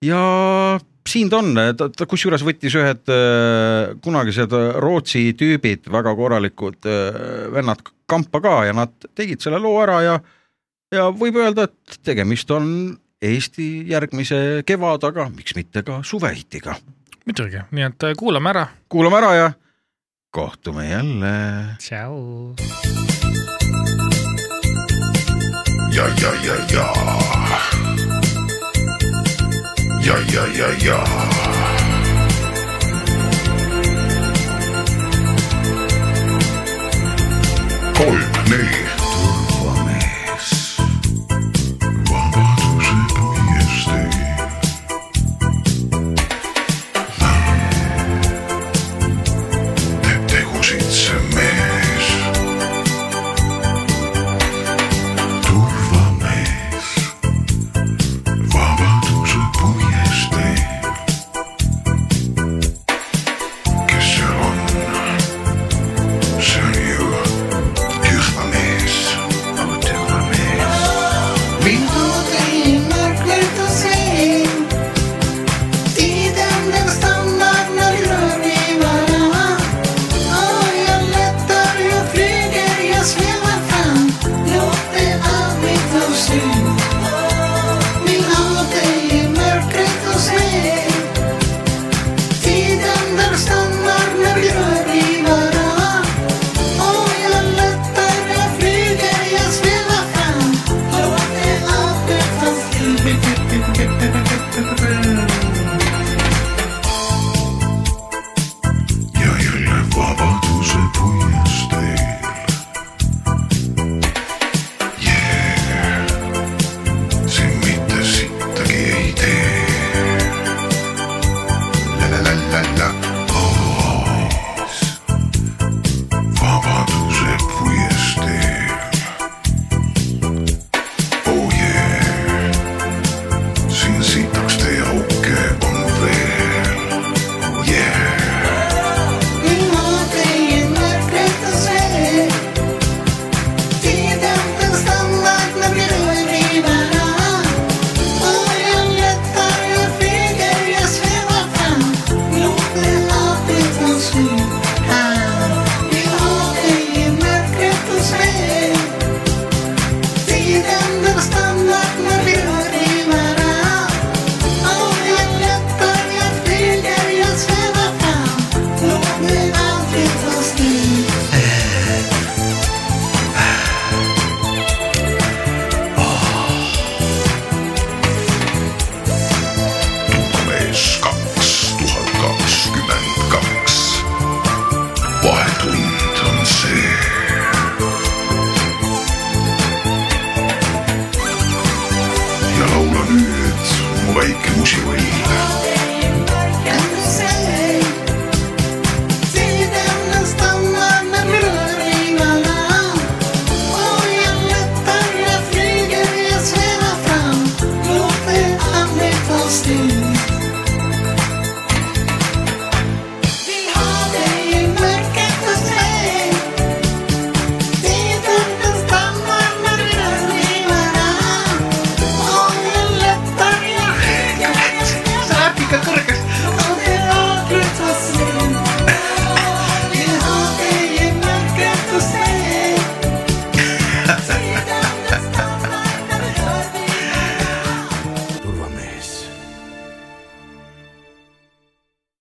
Speaker 2: ja siin ta on , ta, ta kusjuures võttis ühed äh, kunagised Rootsi tüübid , väga korralikud äh, vennad kampa ka ja nad tegid selle loo ära ja ja võib öelda , et tegemist on Eesti järgmise kevadaga , miks mitte ka suvehitiga .
Speaker 3: muidugi , nii et äh, kuulame ära
Speaker 2: kuulame ära ja kohtume jälle
Speaker 3: tšau .
Speaker 7: ja , ja , ja , ja . ja , ja , ja , ja . kolm , neli . turvamees . vabaduse puiestee . teeb tegusid see mees turvamees , vabaduse puiestee . kes seal on ? see on ju turvamees . turvamees .
Speaker 8: Vildu ei märgata see, tiideldab standardne röörivala. Jälle tarjub flyger ja svävar fram, låt det aldrig ta slut. Vill ha dig i mörkret hos mig, tiden där stannar när vi rör i varann. Och jag lättar, jag flyger, jag svävar fram. Låt det aldrig ta slut.
Speaker 7: ja jälle vabaduse puiesteel . Yeah. siin mitte sittagi ei tee . la-la-la-la-la , hoos . vabaduse puiesteel . Oh yeah , siin sitaks teie auke on veel . Yeah.
Speaker 8: Vill ha dig i mörkret och svett. Tiden den stannar när vi rör i varann. Och jag lättar, jag flyger, jag svävar fram. Låt det aldrig ta slut. Ah, vill ha dig i mörkret och svett. Tiden den stannar när vi rör i varann. Och jag lättar, jag flyger, jag svävar fram. Låt det aldrig ta slut.
Speaker 7: mees kaks tuhat kakskümmend kaks . vahetund on see . ja laula nüüd mu väike musivõim .
Speaker 8: Kan du se? Tiden den stannar när vi rör i varann. Och jag lättar, jag flyger, jag svävar fram. Låt det aldrig ta slut. Vill ha dig i mörkret hos mig. Tiden den stannar när vi rör i varann. Och jag lättar, jag flyger, jag svävar fram. Och det lagret var slut. Vill ha dig i mörkret hos mig. Tiden